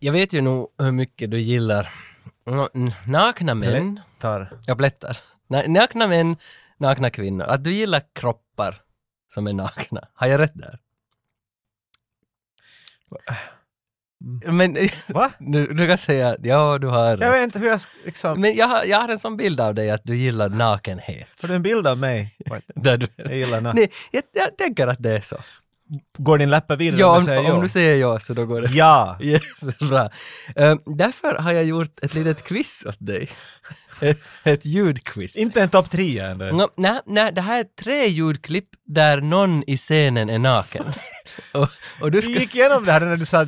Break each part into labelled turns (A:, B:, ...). A: jag vet ju nog hur mycket du gillar n- n- nakna män.
B: Tar.
A: Jag blättar. Na- Nakna män, nakna kvinnor. Att du gillar kroppar som är nakna. Har jag rätt där? Men
B: Va?
A: du, du kan säga ja, du har
B: Mm. Jag
A: rätt.
B: vet inte hur jag ska, liksom...
A: Men jag, har- jag har en sån bild av dig att du gillar nakenhet.
B: Har du en bild av mig?
A: Där du,
B: Jag gillar när...
A: nej, jag, jag tänker att det är så.
B: Går din läppa vidare
A: Ja,
B: om du säger
A: om,
B: ja?
A: om du säger ja så då går det.
B: Ja!
A: Yes, bra. Ehm, därför har jag gjort ett litet quiz åt dig. Ett, ett ljudquiz.
B: Inte en topp tre ändå.
A: Nå, Nej, nej, det här är tre ljudklipp där någon i scenen är naken. och, och du
B: Du
A: ska...
B: gick igenom det här när du sa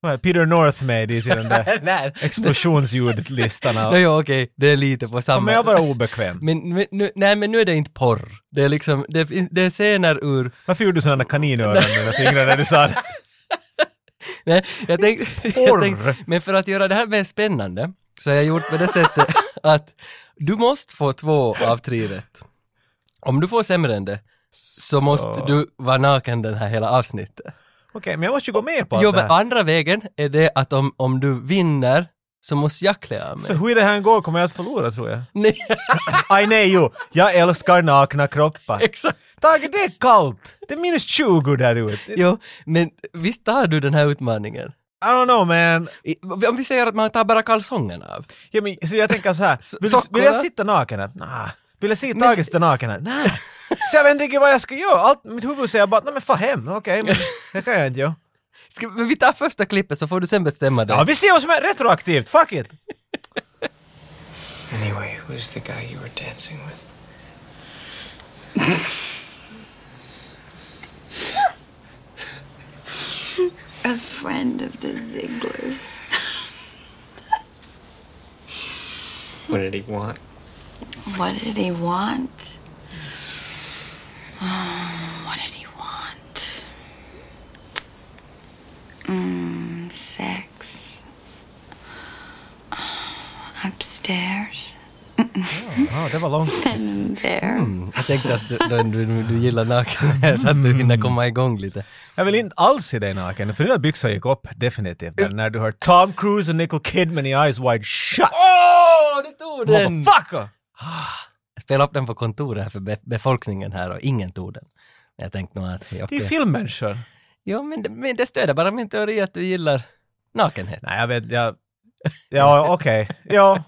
B: vad är Peter North med i till den där
A: nej,
B: explosionsljudlistan.
A: Nå, ja, okej, det är lite på samma...
B: Men jag är bara obekväm.
A: Men, men, nu, nej, men nu är det inte porr. Det är liksom, det, fin- det är scener ur...
B: Varför gjorde du sådana kaninöron med dina fingrar när du sa det?
A: Nej, jag tänkte,
B: Porr.
A: jag tänkte, men för att göra det här mer spännande så har jag gjort på det sättet att du måste få två av tre rätt. Om du får sämre än det så måste du vara naken den här hela avsnittet.
B: Okej, men jag måste ju gå med på allt
A: Jo,
B: det
A: men
B: här.
A: andra vägen är det att om, om du vinner så måste jag klä av mig.
B: Så hur det här går kommer jag att förlora tror jag.
A: Nej,
B: Aj nej jo, jag älskar nakna kroppar.
A: exakt.
B: Tage, det är kallt! Det är minus 20 där ute. I
A: Jo, men visst tar du den här utmaningen?
B: don't know man.
A: I- Om vi säger att man tar bara kalsongerna av.
B: Ja, men, så jag tänker så här, vill, du-
A: sockorna?
B: vill jag sitta naken här? Nah. Vill jag se Tage sitta naken här? Nej. Så jag vet inte riktigt vad jag ska göra. Allt, mitt huvud säger bara, nej men fan hem, okej, men det kan jag inte göra.
A: Ska, men vi tar första klippet så får du sen bestämma dig.
B: Ja, vi ser vad som är retroaktivt, fuck it!
C: Anyway, who's the guy you were dancing with?
D: a friend of the Zigglers.
C: What did he want?
D: What did he want? Um, what did he want? Mm, sex.
C: Hmm.
D: Upstairs.
B: Ja, det var långt.
D: And there.
A: Mm. Jag tänkte att du, du, du, du gillar nakenhet, att
B: Mm.
A: du hinner komma igång lite.
B: Jag vill inte alls se dig naken, för dina byxor gick upp definitivt. Men när du hör Tom Cruise och Nicole Kidman i Eyes Wide Shut.
A: Åh, du tog den!
B: Motherfucker!
A: Spela upp den på kontoret här för be- befolkningen här och ingen tog den. Men Jag tänkte nog att, okej.
B: Det är ju filmmänniskor.
A: Jo, men, det- men det stöder bara min teori att du gillar nakenhet.
B: Nej, jag vet, jag... Ja, okej. Ja.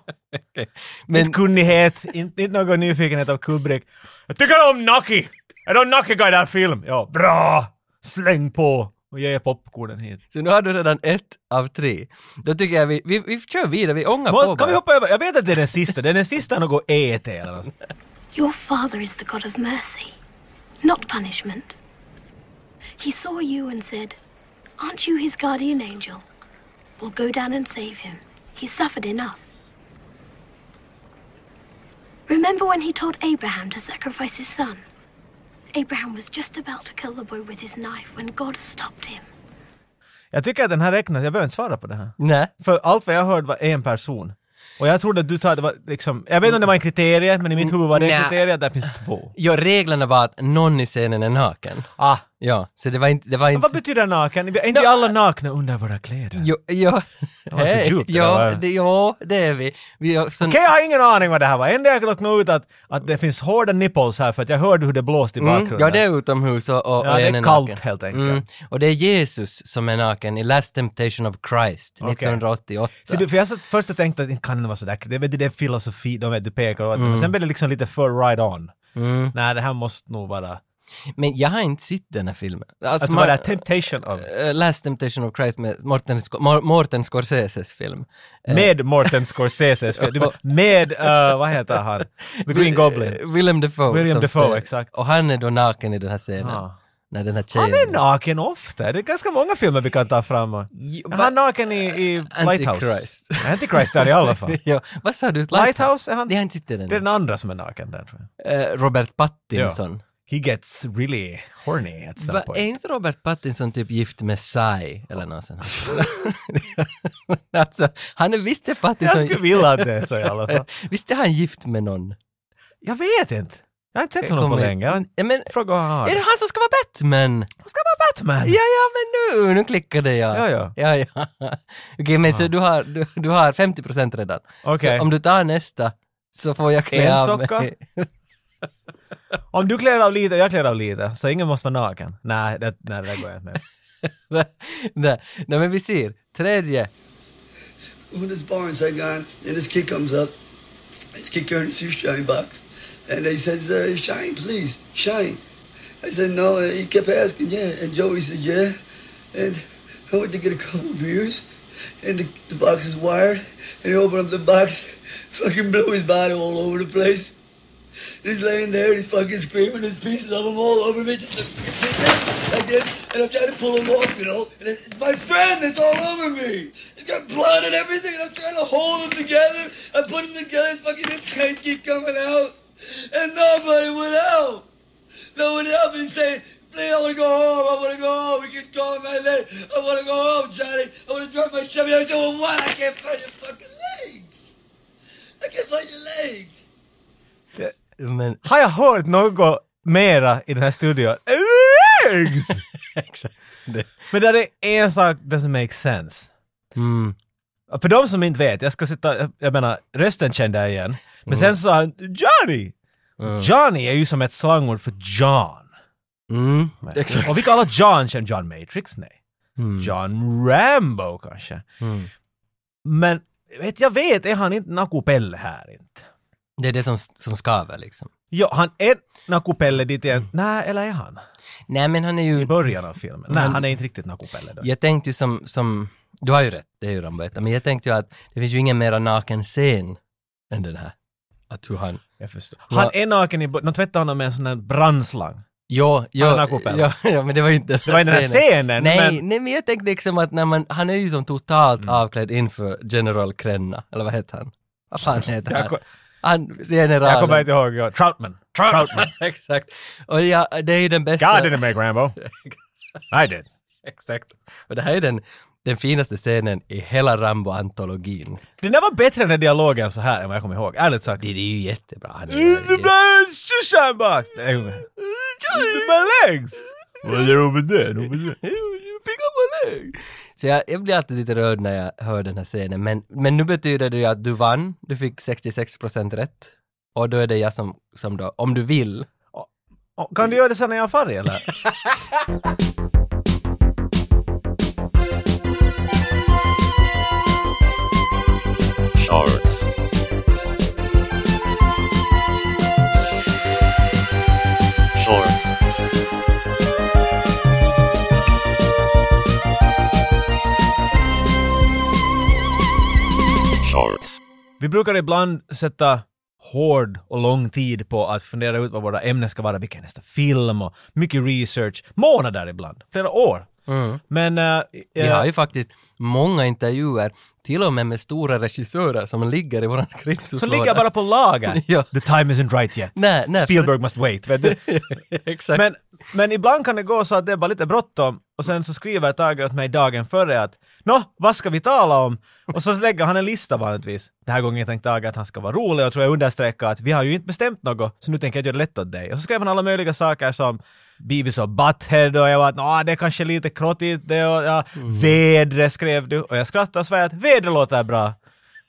A: Men,
B: Inte kunnighet, inte, inte någon nyfikenhet av Kubrick. Jag tycker om Nucky! Är det Nucky guy i den här filmen? Ja, bra! Släng på! Och ge popcornen hit.
A: så nu har du redan ett av tre. Då tycker jag vi, vi, vi kör vidare, vi ångar på
B: Måste,
A: bara.
B: kan vi hoppa över? Jag vet att det är den sista. Det är den sista något ET eller något. sånt.
E: Your father is the God of mercy, not punishment. He saw you and said, Aren't you his guardian angel? Well, go down and save him. He's suffered enough. Remember when he told Abraham to sacrifice his son? Abraham was just about to kill the boy with his knife when God stopped him.
B: Jag tycker att den här räknas. Jag behöver inte svara på det här.
A: Nej.
B: För allt vad jag hörde var en person. Och jag trodde att du sa att det var liksom... Jag vet inte om det var en kriterie, men i mitt huvud var det en
A: Nä.
B: kriterie. Där finns två.
A: Jo, reglerna var att någon i scenen är naken.
B: Ah.
A: Ja, så det var inte... Det var
B: Vad
A: inte
B: betyder naken? Är inte vi alla nakna under våra kläder?
A: Jo, jo,
B: var så
A: hej,
B: djupt det
A: ja,
B: var.
A: det, ja, det är vi. vi har, så,
B: Okej, jag har ingen aning vad det här var. Enda jag kan lockna ut att, att det finns hårda nipples här för att jag hörde hur det blåste i bakgrunden.
A: Mm, ja, det är utomhus och, och
B: Ja,
A: och
B: det
A: en naken.
B: är
A: Mm.
B: kallt helt enkelt.
A: Och det är Jesus som är naken i Last Temptation of Christ,
B: Okej.
A: 1988.
B: Så det, för jag satt, först jag tänkte att det kan vara sådär, det, vet du, det är filosofi, de vet du pekar åt.
A: Mm.
B: Men sen blev det liksom lite för right on. Nej, det här måste nog vara...
A: Men jag har inte sett den här filmen. Alltså,
B: Alltså
A: man-
B: var det här Temptation of...
A: eh, Last Temptation of Christ med Morten, Sco- Mor- Morten Scorseses film.
B: Med Morten Scorsese, för- det var- med, eh, vad heter han? The Green Goblin.
A: Eh, Willem Dafoe.
B: Willem
A: som
B: Dafoe,
A: spelar.
B: exakt.
A: Och han är då naken i den här scenen.
B: Ah.
A: När den här tjejen...
B: Han är naken ofta, det är ganska många filmer vi kan ta fram. och-
A: Jo,
B: Är
A: va-
B: han naken i, i Lighthouse?
A: Antichrist.
B: Antichrist är det i alla fall.
A: ja, vad sa du?
B: Lighthouse, är han-
A: Det har jag inte sett den.
B: Det är den andra som är naken där tror jag.
A: Eh, Robert Pattinson.
B: He gets really horny at some
A: Va, är
B: point.
A: inte Robert Pattinson typ gift med Sai eller något sånt? alltså, han är visst är
B: Jag
A: Pattinson... Eh,
B: skulle vilja att det är så i alla fall.
A: Visst är han gift med någon?
B: Jag vet inte. Jag har inte sett honom på
A: Kommer-
B: länge. Jag
A: Ja, men,
B: Fråga vad han har.
A: är det han som ska vara Batman?
B: Han ska vara Batman!
A: Ja, ja, men nu, nu klickade jag.
B: Ja, ja.
A: ja, ja. Okej, men så du har, du, du har 50% redan.
B: Okej.
A: Så om du tar nästa så får jag klä
B: En
A: av mig.
B: socka? Om du klär av lite och jag klär av lite, så ingen måste vara naken. Nej, det, nej, det där går jag inte med
A: Nej, nej, men vi ser. Tredje.
F: When this bar in Saigon, and this kid comes up. This kid carrying a shoeshine box. And they says, uh, Shine, please, Shine. I said, No. And he kept asking, Yeah. And Joey said, Yeah. And I went to get a couple of beers. And the, the box is wired. And he opened up the box, fucking blew his body all over the place. And he's laying there and he's fucking screaming. There's pieces of him all over me. Just like, like this. And I'm trying to pull him off, you know. And it's, it's my friend that's all over me. He's got blood and everything. And I'm trying to hold him together. I put him together. His fucking insides keep coming out. And nobody would help. No one helped. And he's saying, Please, I want to go home. I want to go home. He keeps calling my name. I want to go home, Johnny. I want to drive my Chevy. I said, Well, what? I can't find your fucking legs. I can't find your legs.
A: Men,
B: Har jag hört något mera i den här studion? Legs!
A: exakt. Det.
B: Men där är en sak doesn't make sense.
A: Mm.
B: För de som inte vet, jag ska sitta, jag menar, rösten kände jag igen. Men
A: Mm.
B: sen sa han Johnny! Johnny är ju som ett slangord för John.
A: Mm. Exakt. Mm.
B: Och vi kallar John känner John Matrix, nej. John Rambo kanske. Men vet, jag vet, är han inte Nakupelle här inte?
A: Det är det som, som skaver liksom.
B: Ja, han är Nakupelle dit
A: Mm.
B: igen. Nej, eller är han?
A: Nej, men han är ju...
B: I början av filmen. Nej,
A: Han-
B: han är inte riktigt Nakupelle då.
A: Jag tänkte ju som, som, du har ju rätt, det är ju Rambo etta, men jag tänkte ju att det finns ju ingen mera naken scen än den här. Att hur han...
B: Jag förstår. Han är naken i början. De tvättar honom med en sån där brandslang.
A: Jo, jo,
B: Han har kopparna.
A: ja, ja, men det var ju inte
B: Det var inte den här scenen,
A: Nej,
B: men- Mm.
A: nej, men jag tänkte liksom att när man, han är ju som totalt avklädd inför General Krenna, eller vad heter han? Vad fan heter
B: Jag
A: han?
B: ko-
A: Han, generalen.
B: Jag kommer inte ihåg. Ja. Troutman. Troutman.
A: Exakt. Och ja, det är ju den bästa...
B: God didn't make Rambo. I did.
A: Exakt. Och det här är den, den finaste scenen i hela Rambo-antologin.
B: Den där var bättre än den dialogen så här än vad jag kommer ihåg. Ärligt sagt.
A: Det, det är ju jättebra. Han är
B: Is the blood shine box? Nej, jag kommer- Is it my legs? Well, they're over there. Over there.
A: Pick up my leg! Så jag, jag blir alltid lite rörd när jag hör den här scenen, men, men nu betyder det ju att du vann, du fick 66% rätt. Och då är det jag som, som då, om du vill.
B: Åh, Kan du göra det sen när jag är färdig eller?
G: Shorts. Shorts. Shorts.
B: Vi brukar ibland sätta hård och lång tid på att fundera ut vad våra ämnen ska vara, vilken nästa film och mycket research. Månader ibland, flera år.
A: Mm.
B: Men... eh,
A: Vi har
B: eh,
A: ju faktiskt många intervjuer, till och med med stora regissörer som ligger i våran skriptslåda.
B: så ligger jag bara på lager.
A: Ja.
B: The time isn't right yet.
A: Nej, nej, för-
B: Spielberg must wait. Vet du?
A: Exakt.
B: Men, men ibland kan det gå så att det är bara lite bråttom och sen så skriver Tage åt mig dagen före att Nå, vad ska vi tala om? Och så lägger han en lista vanligtvis. Den här gången tänkte Tage att han ska vara rolig och tror jag understreckar att vi har ju inte bestämt något så nu tänker jag göra det lätt åt dig. Och så skrev han alla möjliga saker som Beavis och Butthead och jag var att Nå, det är kanske lite krottigt det och ja, vädre skrev du och jag skrattade och svär att vädret låter bra.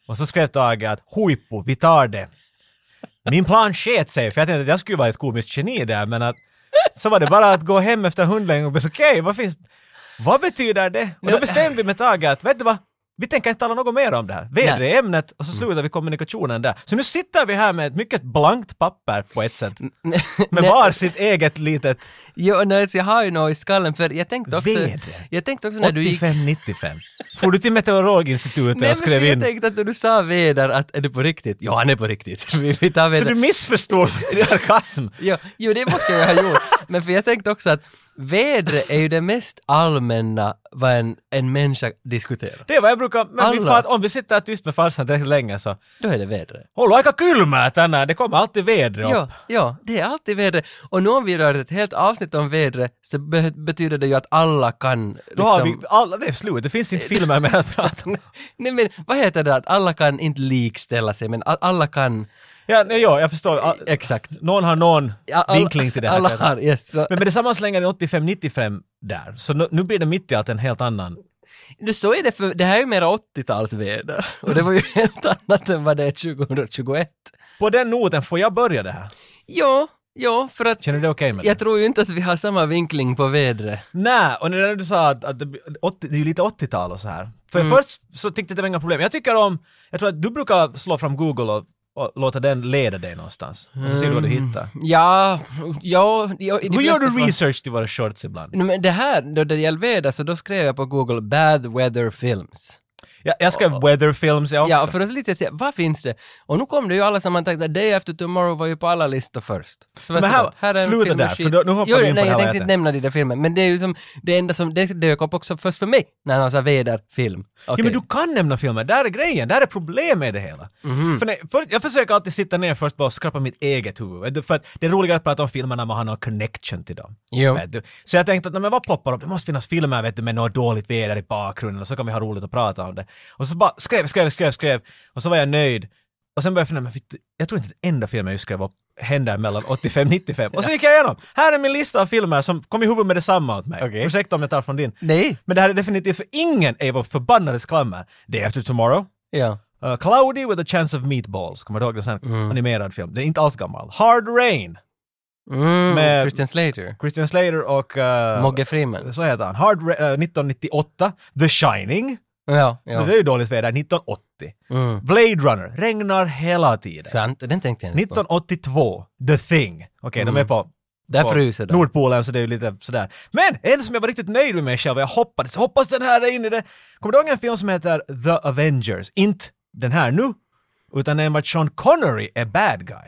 B: Och så skrev Tage att huippu, vi tar det. Min plan sket sig för jag tänkte att jag skulle vara ett komiskt geni där men att så var det bara att gå hem efter hundlängen och bara så, okej, vad finns Vad betyder det? Och då bestämde vi med Tage att, vet du vad? Vi tänker inte tala något mer om det här. Väder
A: Nej.
B: är ämnet och så slutar vi kommunikationen där. Så nu sitter vi här med ett mycket blankt papper på ett sätt. Med
A: Nej.
B: var sitt eget litet
A: Jo, nej, så jag har ju något i skallen, för jag tänkte också...
B: Väder.
A: Jag tänkte också när du gick...
B: 85-95. For du till Meteorologinstitutet
A: Nej, men
B: och
A: för
B: skrev
A: jag
B: in?
A: tänkte att när du sa väder, att är det på riktigt? Ja, han är på riktigt. Vi, vi tar
B: Så
A: väder.
B: du missförstår min sarkasm?
A: Jo, jo, det måste jag ju ha gjort. Men för jag tänkte också att vädret är ju det mest allmänna vad en, en människa diskuterar.
B: Det är vad jag brukar, men min
A: Alla.
B: far, om vi sitter tyst med farsan tillräckligt länge så
A: Då är det vädret.
B: Håll aika kylmää tänään, det kommer alltid väder upp.
A: Ja, ja, det är alltid vädret. Och nu om vi rör ett helt avsnitt om vädret så be- betyder det ju att alla kan liksom...
B: Då har vi, alla, det är slut, det finns inte filmer mer att prata om.
A: Nej men vad heter det att alla kan inte likställa sig men a- alla kan...
B: Ja, nej, ja, jag förstår. Ah,
A: Exakt.
B: Någon har någon
A: Ja, alla-
B: vinkling till det här.
A: Alla
B: kanske.
A: har, yes. Så,
B: Men med detsamma slänger den 85-95 där. Så nu, nu blir det mitt i allt en helt annan.
A: Nu, så är det för det här är ju mera 80-talsväder och det var ju helt annat än vad det är 2021.
B: På den noten får jag börja det här.
A: Ja, ja, för att
B: Känner du dig okej med det?
A: jag tror ju inte att vi har samma vinkling på vädret.
B: Nej, och när du sa att, att det, blir 80, det är ju lite 80-tal och så här. För
A: Mm.
B: först så tyckte jag det var inga problem. Jag tycker om, jag tror att du brukar slå fram Google och, och låta den leda dig någonstans. Och så ser du vad du hittar.
A: Ja, ja, ja i Mm. de
B: Hur gör
A: flesta
B: du
A: fall-
B: research till våra shorts ibland?
A: Nej, Men det här, då det gäller väder, så då skrev jag på Google “Bad Weather Films”.
B: Jag, jag skrev weather films jag också.
A: Ja, för att lite se, vad finns det? Och nu kom det ju alla sammantaget, att Day After Tomorrow var ju på alla listor först. Så var
B: Men
A: så
B: här-
A: gott. är en
B: sluta
A: film
B: där,
A: med
B: för
A: skit.
B: då- nu hoppar
A: jo,
B: vi
A: jo, nej,
B: in på det här
A: jag
B: vad
A: tänkte
B: heter.
A: inte nämna den där filmen, men det är ju som, det enda som, det dök upp också först för mig, när han sa väderfilm.
B: Ja
A: Okej.
B: men du kan nämna filmer, där är grejen, där är problemet med det hela.
A: Mhm.
B: För när, för, jag försöker alltid sitta ner först bara och skrapa mitt eget huvud. Vet du, För att det är roligare att prata om filmerna när man har någon connection till dem.
A: Jo.
B: Vet du? Så jag tänkte att nej, men vad ploppar upp? Det måste finnas filmer vet du, med något dåligt väder i bakgrunden och så kan vi ha roligt att prata om det. Och så bara skrev, skrev, skrev, skrev och så var jag nöjd. Och sen började jag fundera, men fitt, jag tror inte ett enda film jag just skrev upp händer mellan 85 95. Och så gick jag igenom. Här är min lista av filmer som kom i huvudet med detsamma åt mig.
A: Okej.
B: Ursäkta om jag tar från din.
A: Nej.
B: Men det här är definitivt för ingen är vår förbannade skrammer. Day After Tomorrow.
A: Ja.
B: Uh, Cloudy with a Chance of Meatballs. Kommer du ihåg den sen? Animerad film. Den är inte alls gammal. Hard Rain.
A: Mm,
B: Med-
A: Christian Slater.
B: Christian Slater och... Uh,
A: Mogge Freeman.
B: Så heter han. Hard Ra- eh, 1998. The Shining.
A: Ja, ja.
B: Det är ju dåligt väder. 1980.
A: Mm.
B: Blade Runner. Regnar hela tiden.
A: Sant, den tänkte jag inte på.
B: 1982. The Thing. Okej, de är på...
A: Där
B: på
A: fryser de.
B: Nordpolen, så det är ju lite sådär. Men en som jag var riktigt nöjd med mig själv, och jag hoppades, hoppas den här är inne i det. Kommer du ihåg en film som heter The Avengers? Inte den här nu, utan den var Sean Connery är bad guy.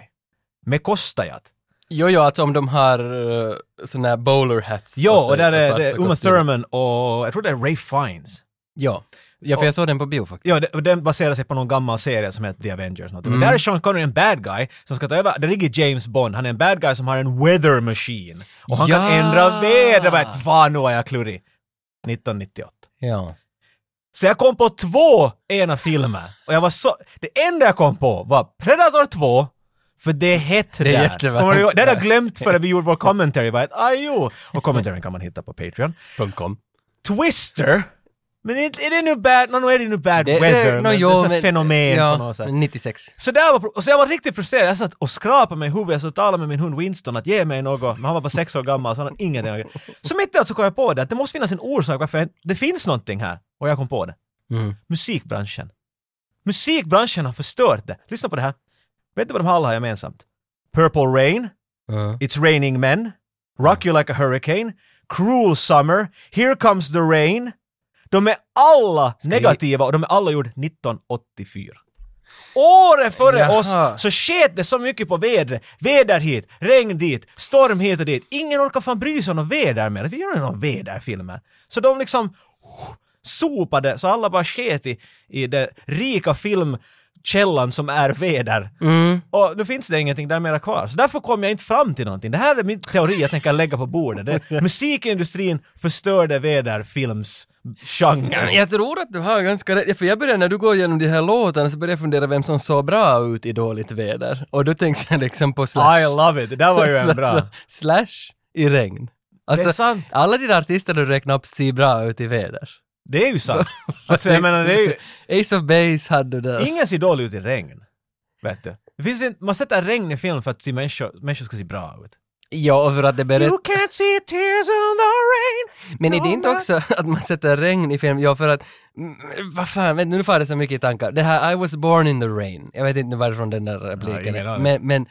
B: Med Kostajat.
A: Jo, jo, alltså om de har uh, såna här bowler hats.
B: Jo,
A: på sig
B: och där är
A: svarta
B: det Uma
A: kostymer.
B: Thurman och jag tror det är Ray Fiennes.
A: Ja. ja, för jag såg den på bio faktiskt.
B: Ja, det- och den baserar sig på någon gammal serie som heter The Avengers. något.
A: Mm.
B: Och Där är Sean Connery en bad guy som ska ta över. Där ligger James Bond. Han är en bad guy som har en weather machine. Och han kan
A: Ja.
B: ändra väder. Vad Fan, nu är jag klurig. 1998.
A: Ja.
B: Så jag kom på två ena filmer. Och jag var så... Det enda jag kom på var Predator 2, för det är hett
A: är
B: där.
A: jättevarmt
B: Kommer du ihåg? Det hade jag
A: där.
B: glömt före vi gjorde vår commentary. Bara, att, ah, jo. Och commentaryn kan man hitta på Patreon.
A: .com.
B: Twister. Men är, är det nu bad... No, nu är det nu bad
A: Det,
B: weather.
A: det, no,
B: men
A: jo,
B: det är så
A: men,
B: fenomen
A: ja,
B: på något sätt.
A: 96.
B: Så där var, pro- och så jag var riktigt frustrerad. Jag satt och skrapade mig i huvudet. Jag satt och talade med min hund Winston att ge mig något. Men han var bara sex år gammal så han hade ingenting att göra. Så mitt i allt så kom jag på det att det måste finnas en orsak varför det finns någonting här. Och jag kom på det.
A: Mm.
B: Musikbranschen. Musikbranschen har förstört det. Lyssna på det här. Vet du vad de alla har gemensamt? Purple Rain,
A: Ja.
B: It's Raining Men, Rock You Like a Hurricane, Cruel Summer, Here Comes the Rain. De är alla negativa och de är alla gjorda 1984. Året före
A: Jaha.
B: oss så sket det så mycket på vädret. Väder hit, regn dit, storm hit och dit. Ingen orkar fan bry sig om något väder mer. Vi gör inte någon väderfilmer. Så de liksom sopade, så alla bara sket i, i den rika filmkällan som är väder.
A: Mm.
B: Och nu finns det ingenting där mera kvar. Så därför kom jag inte fram till någonting. Det här är min teori jag tänker lägga på bordet. Det, musikindustrin förstörde väderfilmsgenren.
A: Jag tror att du har ganska rätt, för jag började när du går igenom de här låtarna så började jag fundera vem som såg bra ut i dåligt väder. Och då tänkte jag liksom på Slash.
B: I love it! Det där var ju en bra.
A: Alltså, slash i regn. Alltså,
B: Det är sant.
A: Alla de där artister du räknar upp ser bra ut i väder.
B: Det är ju sant. Alltså jag menar, det är ju...
A: Ace of Base hade du där.
B: Ingen ser dålig ut i regn. Vet du. Det finns inte, man sätter regn i film för att se människor, människor ska se bra ut.
A: Ja, och för att det berättar...
B: You can't see tears in the rain!
A: Men är det inte också att man sätter regn i film? Ja, för att... mm, Vad fan, vet, du, nu far det så mycket i tankar. Det här I was born in the rain. Jag vet inte varifrån den där repliken
B: ingen
A: är.
B: aning.
A: Men, men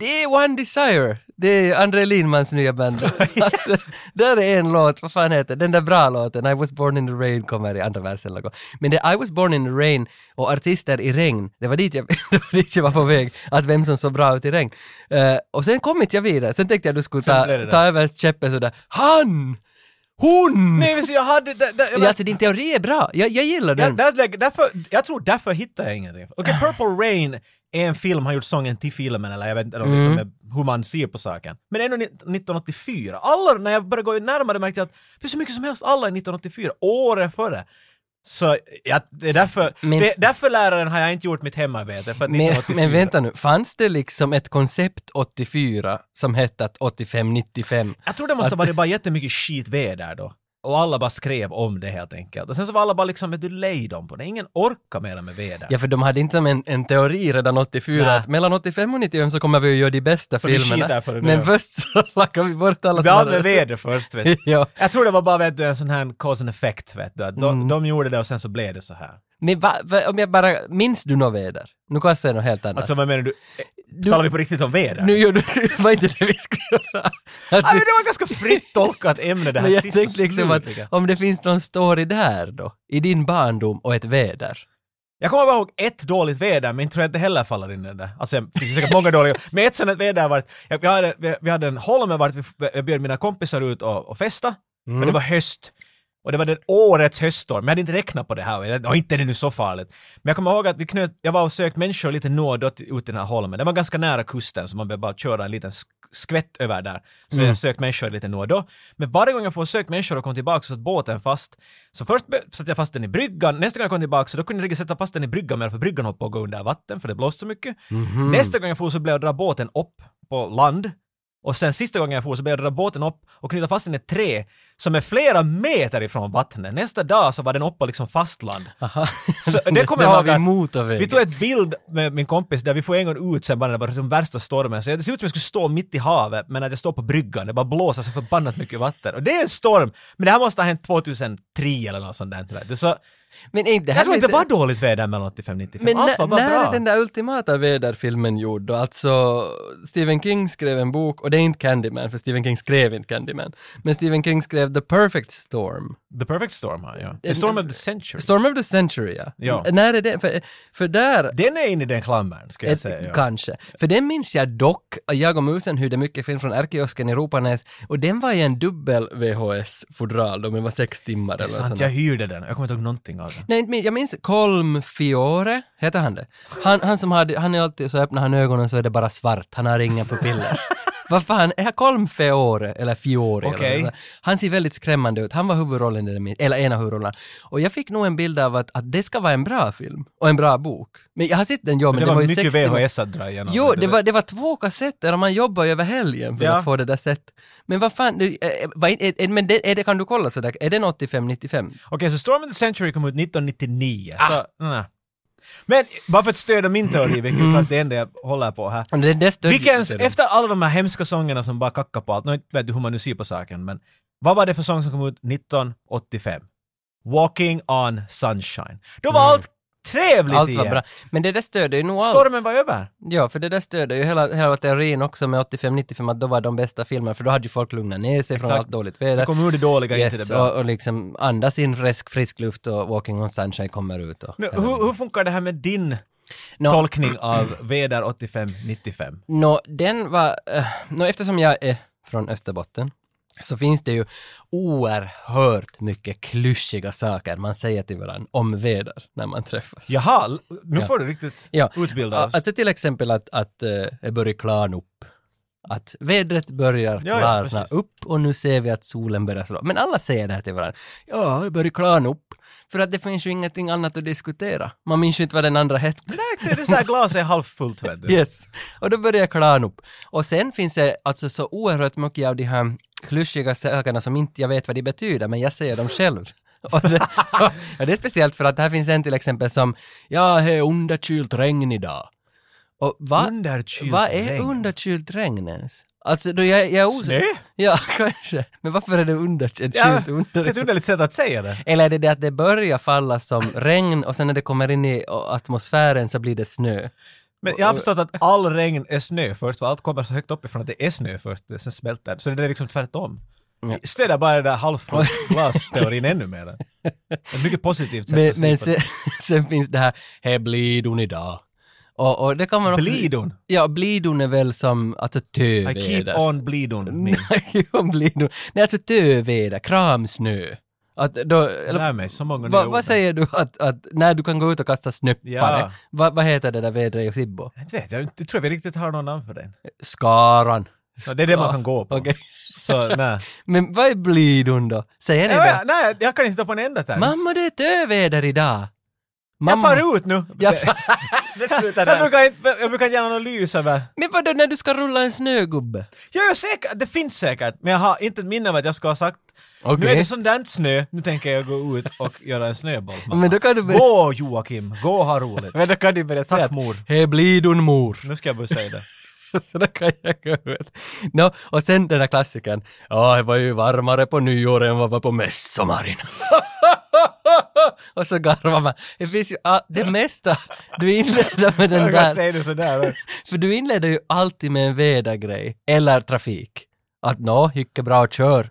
A: det är One Desire. Det är André Lindmans nya band. alltså, där är en låt, vad fan heter den där bra låten, I was born in the rain, kommer i andra versen eller något. Men det I was born in the rain och artister i regn, det var dit jag, det var, dit jag var på väg, att vem som såg bra ut i regn. Eh, och sen kom inte jag vidare, sen tänkte jag du skulle ta,
B: blev det där.
A: ta över käppen sådär, han! Hon!
B: Nej, men så jag hade... Där, där, jag
A: Ja, alltså din teori är bra, jag, jag gillar
B: Ja,
A: den.
B: där, lägger- därför, jag tror därför hittar jag ingenting. Okej,
A: Ah.
B: Purple Rain är en film, har gjort sången till filmen, eller jag vet inte
A: Mm.
B: om det är hur man ser på saken. Men ändå ni- 1984. Alla, när jag började gå närmare märkte jag att det finns så mycket som helst, alla är 1984, året före. Så jag, det är därför,
A: Men-
B: det, därför läraren har jag inte gjort mitt hemarbete. För att
A: Men,
B: 1984
A: men vänta nu, fanns det liksom ett koncept 84 som hette att 85-95?
B: Jag tror det måste ha varit bara jättemycket skitväder då. Och alla bara skrev om det helt enkelt. Och sen så var alla bara liksom, vet du lej dem på det. Ingen orkar mera med väder.
A: Ja, för de hade inte som en, en teori redan 84
B: Nej.
A: att mellan 85 och 95 så kommer vi att göra de bästa
B: Så vi
A: filmerna.
B: skitar för det nu,
A: men
B: ja.
A: först så lackar vi bort alla
B: Vi
A: som
B: hade
A: hade-
B: med väder först vet du.
A: ja.
B: Jag tror det var bara vet du, en sån här cause and effect vet du. Att de,
A: Mm.
B: de gjorde det och sen så blev det så här.
A: Men va, va, om jag bara, minns du något väder? Nu kan jag säga något helt annat.
B: Alltså vad menar du? Talar vi på riktigt om väder?
A: nu gör du, var inte det vi skulle göra. Att
B: Ja, men
A: det-
B: Alltså, det var ett ganska fritt tolkat ämne det här
A: men jag
B: sist och
A: tänkte liksom att
B: slutligen.
A: om det finns någon story där då, i din barndom och ett väder.
B: Jag kommer bara ihåg ett dåligt väder, men tror jag inte heller faller in i den där. Alltså, det finns säkert många dåliga. Men ett sånt väder var att, jag, vi, hade, vi, vi hade en Holme vart vi, jag bjöd mina kompisar ut och, och festa, men det var höst. Och det var den årets höststorm, men jag hade inte räknat på det här. Och jag- Och inte är det nu så farligt. Men jag kommer ihåg att vi knöt, jag var och sökte människor lite nå och då till- ut i den här holmen. Det var ganska nära kusten, så man behövde bara köra en liten sk- skvätt över där. Så jag sökte människor lite nå och då. Men varje gång jag får sökt människor och kom tillbaka så satt båten fast. Så först be- satte jag fast den i bryggan, nästa gång jag kom tillbaka så då kunde jag inte sätta fast den i bryggan mer för bryggan höll på att gå under vatten för det blåste så mycket. Nästa gång jag for så blev jag dra båten upp på land. Och sen sista gången jag for så blev jag dra båten upp och knyta fast den i ett trä som är flera meter ifrån vattnet. Nästa dag så var den uppe på liksom fastland.
A: Aha.
B: Så det kommer
A: Där
B: jag
A: var
B: ihåg
A: vi
B: att
A: motorvägen.
B: vi tog ett bild med min kompis där vi får en gång ut sen bara när det var den värsta stormen. Så det ser ut som jag skulle stå mitt i havet men att jag står på bryggan. Det bara blåser så förbannat mycket vatten. Och det är en storm! Men det här måste ha hänt 2003 eller något sånt där. vet du. Så
A: Men är inte det här
B: jag tror inte det
A: lite-
B: var dåligt väder mellan 85 och 95.
A: Men
B: Allt var
A: när,
B: bara
A: när
B: bra.
A: är den där ultimata väderfilmen gjord då? Alltså, Stephen King skrev en bok, och det är inte Candyman, för Stephen King skrev inte Candyman. Men Stephen King skrev The Perfect Storm.
B: The perfect storm, ja. ja.
A: Eh,
B: The storm of the century.
A: Storm of the Century, ja.
B: Ja.
A: N- När är det? För, för där...
B: Den är inne i den klammern, ska jag
A: Ett,
B: säga. Ja.
A: Kanske. För den minns jag dock, jag och musen hyrde mycket film från Ärkekiosken i Ropanäs och den var i en dubbel VHS-fodral då, men var sex timmar
B: Det är
A: eller
B: sant,
A: sånt.
B: jag hyrde den. Jag kommer inte ihåg någonting av den.
A: Nej, inte min- jag minns Colm Fiore, heter han det? Han, han som hade, han är alltid så öppnar han ögonen så är det bara svart, han har inga pupiller. Vad fan, är han Colm Fiore, eller Fiore? eller
B: Okej.
A: något sånt. han ser väldigt skrämmande ut, han var huvudrollen i den, min- eller en av huvudrollerna. Och jag fick nog en bild av att, att det ska vara en bra film, och en bra bok. Men jag har sett den, ja, men,
B: Men det,
A: var,
B: var
A: ju
B: mycket
A: 60 gånger.
B: VHS att dra igenom.
A: Jo,
B: vet du.
A: det var, det var två kassetter och man jobbar ju över helgen för
B: Ja.
A: att få det där sett. Men vad fan, det, eh, vad är, är, men det, är det, kan du kolla sådär, är den 85-95?
B: Okej, så Storm of the Century kom ut 1999.
A: Ah.
B: Så, nej. Men bara för att stödja min teori, vilket är klart det enda jag håller på här.
A: Och Det, det stödjer
B: Vilken,
A: sig då.
B: efter alla de här hemska sångerna som bara kackar på allt, nu vet du hur man nu ser på saken, men vad var det för sång som kom ut 1985? Walking on sunshine. Då var allt trevligt
A: Mm. Allt var
B: igen.
A: bra. Men det där stöder ju nog allt.
B: Stormen var över.
A: Ja, för det där stöder ju hela, hela teorin också med 85-95 att då var de bästa filmerna, för då hade ju folk lugnat ner sig från
B: Exakt.
A: allt dåligt
B: Det
A: väder.
B: kom ur det dåliga, inte det
A: Yes,
B: bra.
A: och, och liksom andas in frisk, frisk luft och Walking on Sunshine kommer ut. Och,
B: Nu, hur, hur funkar det här med din
A: Nå,
B: tolkning av väder 85-95?
A: Nå, den var... eh, nå, eftersom jag är från Österbotten så finns det ju oerhört mycket klyschiga saker man säger till varandra om väder när man träffas.
B: Jaha, l- nu
A: Ja.
B: får du riktigt
A: Ja.
B: utbilda
A: Ja,
B: oss.
A: Alltså till exempel att, att eh, det börjar klarna upp. Att vädret börjar
B: Ja, ja,
A: klarna
B: precis.
A: upp och nu ser vi att solen börjar slå. Men alla säger det här till varandra. Ja, det börjar klarna upp. För att det finns ju ingenting annat att diskutera. Man minns ju inte vad den andra hette.
B: Direkt är det så här glaset är halvfullt vet du.
A: Yes. Och då börjar jag klarna upp. Och sen finns det alltså så oerhört mycket av de här klyschiga sakerna som inte jag vet vad de betyder, men jag säger dem själv. Och det, ja, det är speciellt för att här finns en till exempel som ”Ja, det är underkylt regn idag”. Och va,
B: Underkylt
A: vad är
B: regn.
A: underkylt regn ens? Alltså, då jag, jag är os-
B: Snö?
A: Ja, kanske. Men varför är det underkylt?
B: Ja,
A: kylt
B: det
A: under?
B: är ett underligt sätt att säga det.
A: Eller är det det att det börjar falla som regn och sen när det kommer in i o- atmosfären så blir det snö?
B: Men jag har förstått att all regn är snö först, för allt kommer så högt uppifrån att det är snö först, eh, sen smälter det. Så det är liksom tvärtom.
A: Ja.
B: Stöder bara den där halvfullt glas-teorin ännu mer. Ett mycket positivt sätt
A: Men,
B: att
A: men
B: se på
A: sen,
B: det.
A: sen finns det här ”Här blir hon idag”. Och, och det kommer också...
B: Blidon.
A: Ja, blidon är väl som alltså
B: I keep
A: töväder.
B: on
A: Mm.
B: blidon. Min.
A: keep on blidon. Nej, alltså töväder, kramsnö. Att då, eller
B: Lär mig så många
A: Va,
B: nya
A: vad
B: ord.
A: säger du att, att när du kan gå ut och kasta snöppare,
B: Ja.
A: va, vad heter det där vädret i Sibbo?
B: Jag vet, jag inte- tror vi riktigt har någon namn för den.
A: Skaran.
B: Så det är det man kan gå på.
A: Okej.
B: Så nej.
A: Men vad är blidun då? Säger ni
B: Nej,
A: det?
B: jag, nej, jag kan inte ta på en enda term.
A: Mamma, det är töväder idag.
B: jag
A: Mamma.
B: far ut nu.
A: Jag-
B: jag, brukar inte, jag brukar inte göra någon analys över...
A: Men vadå när du ska rulla en snögubbe?
B: Ja, jag är säker, det finns säkert, men jag har inte ett minne av att jag ska ha sagt Nu är
A: Okej.
B: det sån där snö, nu tänker jag gå ut och göra en snöboll. mamma."
A: Men då kan du börja-
B: Gå Joakim, gå och ha roligt.
A: Men då kan du börja säga
B: Tack,
A: att
B: mor.
A: Hej blidun mor.
B: Nu ska jag börja säga det.
A: så då kan jag gå ut. Nå, och sen den där klassikern. Ja, det var ju varmare på nyår än vad det var på midsommarin. och så garvar man. Det finns ju all, det mesta. Du inleder med den
B: Jag kan
A: där.
B: säga det sådär.
A: För du inleder ju alltid med en vädergrej. Eller trafik. Att nå, gick det bra att kör.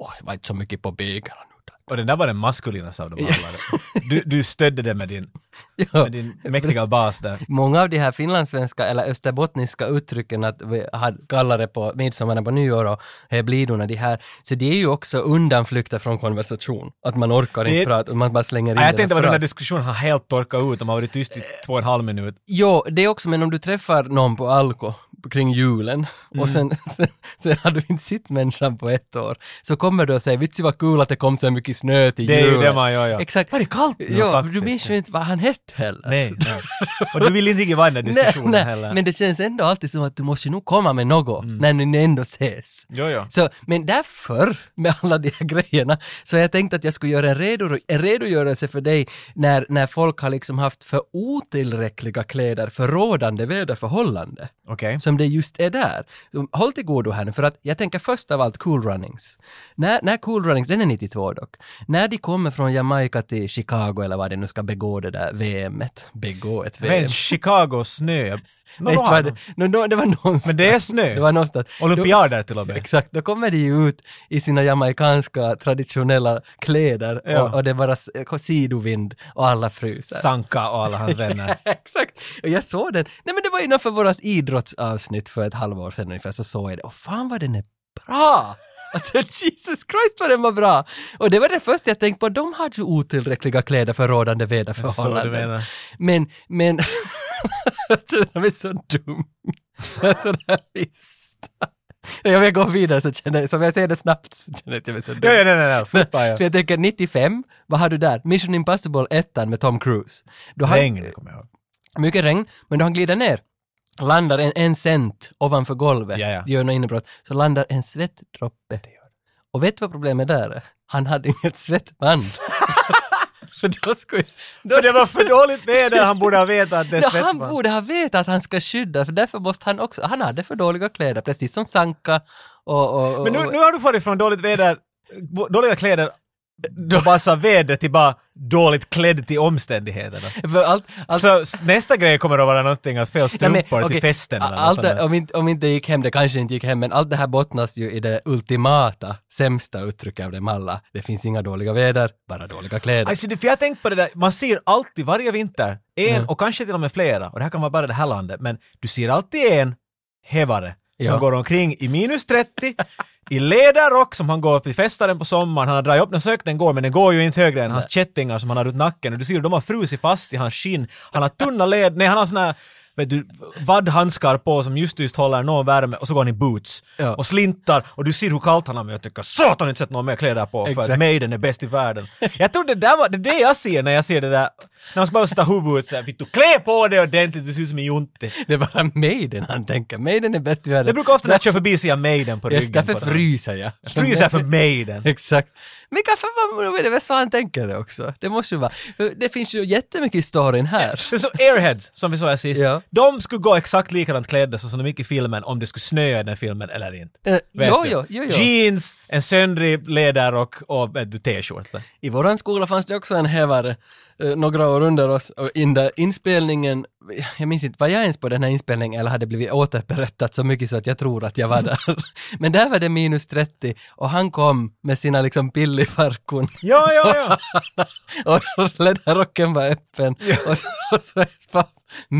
A: Åh, det var inte så mycket på vägarna nu. då.
B: Och den där var den maskulinaste av de alla. Du, du stödde det med din,
A: Ja.
B: med din mäktiga bas där.
A: Många av de här finlandssvenska eller österbottniska uttrycken att vi har- kallar det på midsommaren på nyår och här blidorna, de här, så det är ju också undanflykter från konversation. Att man orkar inte
B: Det-
A: prata, och man bara slänger in
B: Nej, jag
A: det där
B: tänkte vad den där
A: frasen.
B: diskussionen har helt torkat ut, de har varit tyst i två och en halv minut.
A: Jo, det är också, men om du träffar någon på Alko kring julen
B: Mm.
A: och sen, sen, sen har du inte sett människan på ett år, så kommer du och säger vitsi vad kul att det kom så mycket snö till
B: Det är ju
A: julen.
B: det man gör, ja.
A: Exakt.
B: Var det kallt nu
A: Ja,
B: faktiskt?
A: du minns ju inte vad han hette heller.
B: Nej, nej. Och du vill inte riktigt vara i den där diskussionen
A: nej,
B: heller. Mm.
A: Men det känns ändå alltid som att du måste ju nog komma med något när ni ändå ses.
B: Jo, jo.
A: Så, men därför, med alla de här grejerna, så jag tänkte att jag skulle göra en, redor- en redogörelse för dig när, när folk har liksom haft för otillräckliga kläder för rådande väderförhållande.
B: Okej.
A: Som det just är där. Så, håll till godo här nu, för att jag tänker först av allt Cool Runnings. När, när Cool Runnings, den är 92 dock, när de kommer från Jamaica till Chicago eller vad det nu ska begå det där VMet, begå ett VM.
B: Men Chicago snö. Nå,
A: Vet
B: då har
A: vad
B: de.
A: det, no, no, det var någonstans.
B: Men det är snö.
A: Det var någonstans.
B: Olympiader till och
A: Då,
B: med.
A: exakt, då kommer de ju ut i sina jamaicanska traditionella kläder
B: Ja.
A: och, och det är bara s- sidovind och alla fryser.
B: Sanka och alla hans vänner.
A: Exakt, och jag såg den. Nej men det var innanför vårt idrottsavsnitt för ett halvår sedan ungefär så såg jag det. Och fan vad den är bra! Alltså Jesus Christ vad den var bra! Och det var det första jag tänkte på, de hade ju otillräckliga kläder för rådande
B: Så du
A: väderförhållanden.
B: menar.
A: Men, men... det är så dum. En sån här lista. Jag vill gå vidare så känner jag, som jag säger det snabbt så känner jag att jag är så
B: Ja,
A: dum.
B: ja, nej, nej, nej. Fotboll, ja.
A: För jag tänker 95, vad har du där? Mission Impossible 1 med Tom Cruise. Då har-
B: Regn kommer jag ihåg.
A: mycket regn, men då han glider ner, landar en, en cent ovanför golvet,
B: Ja, ja.
A: gör något inbrott, så landar en svettdroppe. Och vet du vad problemet där är? Han hade inget svettband. För då skulle... Då
B: För det var för dåligt väder, han borde ha vetat att det är
A: Ja, han
B: svettband.
A: borde ha vetat att han ska skydda, för därför måste han också, han hade för dåliga kläder, precis som Sanka och... och, och
B: Men nu, nu har du farit från dåligt väder, bo- dåliga kläder, massa väder till bara dåligt klädd till omständigheterna.
A: För allt, allt,
B: Så s- nästa grej kommer att vara någonting att fel
A: Nej,
B: strumpor
A: men,
B: till
A: okej,
B: festen eller
A: allt
B: allt
A: det, om, inte, om inte det gick hem, det kanske inte gick hem, men allt det här bottnas ju i det ultimata, sämsta uttrycket av dem alla. Det finns inga dåliga väder, bara dåliga kläder.
B: Alltså, det, för jag har tänkt på det där, man ser alltid varje vinter en
A: Mm.
B: och kanske till och med flera, och det här kan vara bara det här landet, men du ser alltid en hävare
A: Ja.
B: som går omkring i minus 30, i ledarrock som han går till festaren på sommaren, han har dragit upp den så högt den går men den går ju inte högre än hans kättingar som han har runt nacken och du ser hur de har frusit fast i hans skinn, han har tunna led, nej han har såna här Vet du, vaddhandskar på som just just håller någon värme och så går han i boots
A: Ja.
B: och slintar och du ser hur kallt han har men jag tänker satan inte sett några mer kläder på för
A: Exakt.
B: att Maiden är bäst i världen. Jag tror det där var, det är det jag ser när jag ser det där, när man ska bara sätta huvudet såhär, vittu klä på dig ordentligt, du ser ut som en jonte.
A: Det är bara Maiden han tänker, Maiden är bäst i världen.
B: Jag brukar ofta när jag kör förbi se jag Maiden på
A: Yes,
B: ryggen.
A: därför
B: på den.
A: fryser jag.
B: Fryser för Maiden.
A: Exakt. Men kanske var det väl så han tänker det också. Det måste ju vara. för Det finns ju jättemycket i storyn här.
B: Det är som Airheads, som vi såg sist.
A: Ja.
B: De skulle gå exakt likadant klädda så som de gick i filmen om det skulle snöa i den filmen eller inte.
A: Eh,
B: Vet
A: jo,
B: du?
A: jo, jo, jo.
B: Jeans, en söndrig ledarrock och vet du, t-skjorta.
A: I våran skola fanns det också en hävare eh, några år under oss och in där inspelningen, jag minns inte, var jag ens på den här inspelningen eller hade blivit återberättat så mycket så att jag tror att jag var där. Men där var det minus 30 och han kom med sina liksom pillifarkon
B: Ja, ja, ja.
A: och ledarrocken var öppen och, så- och så ett par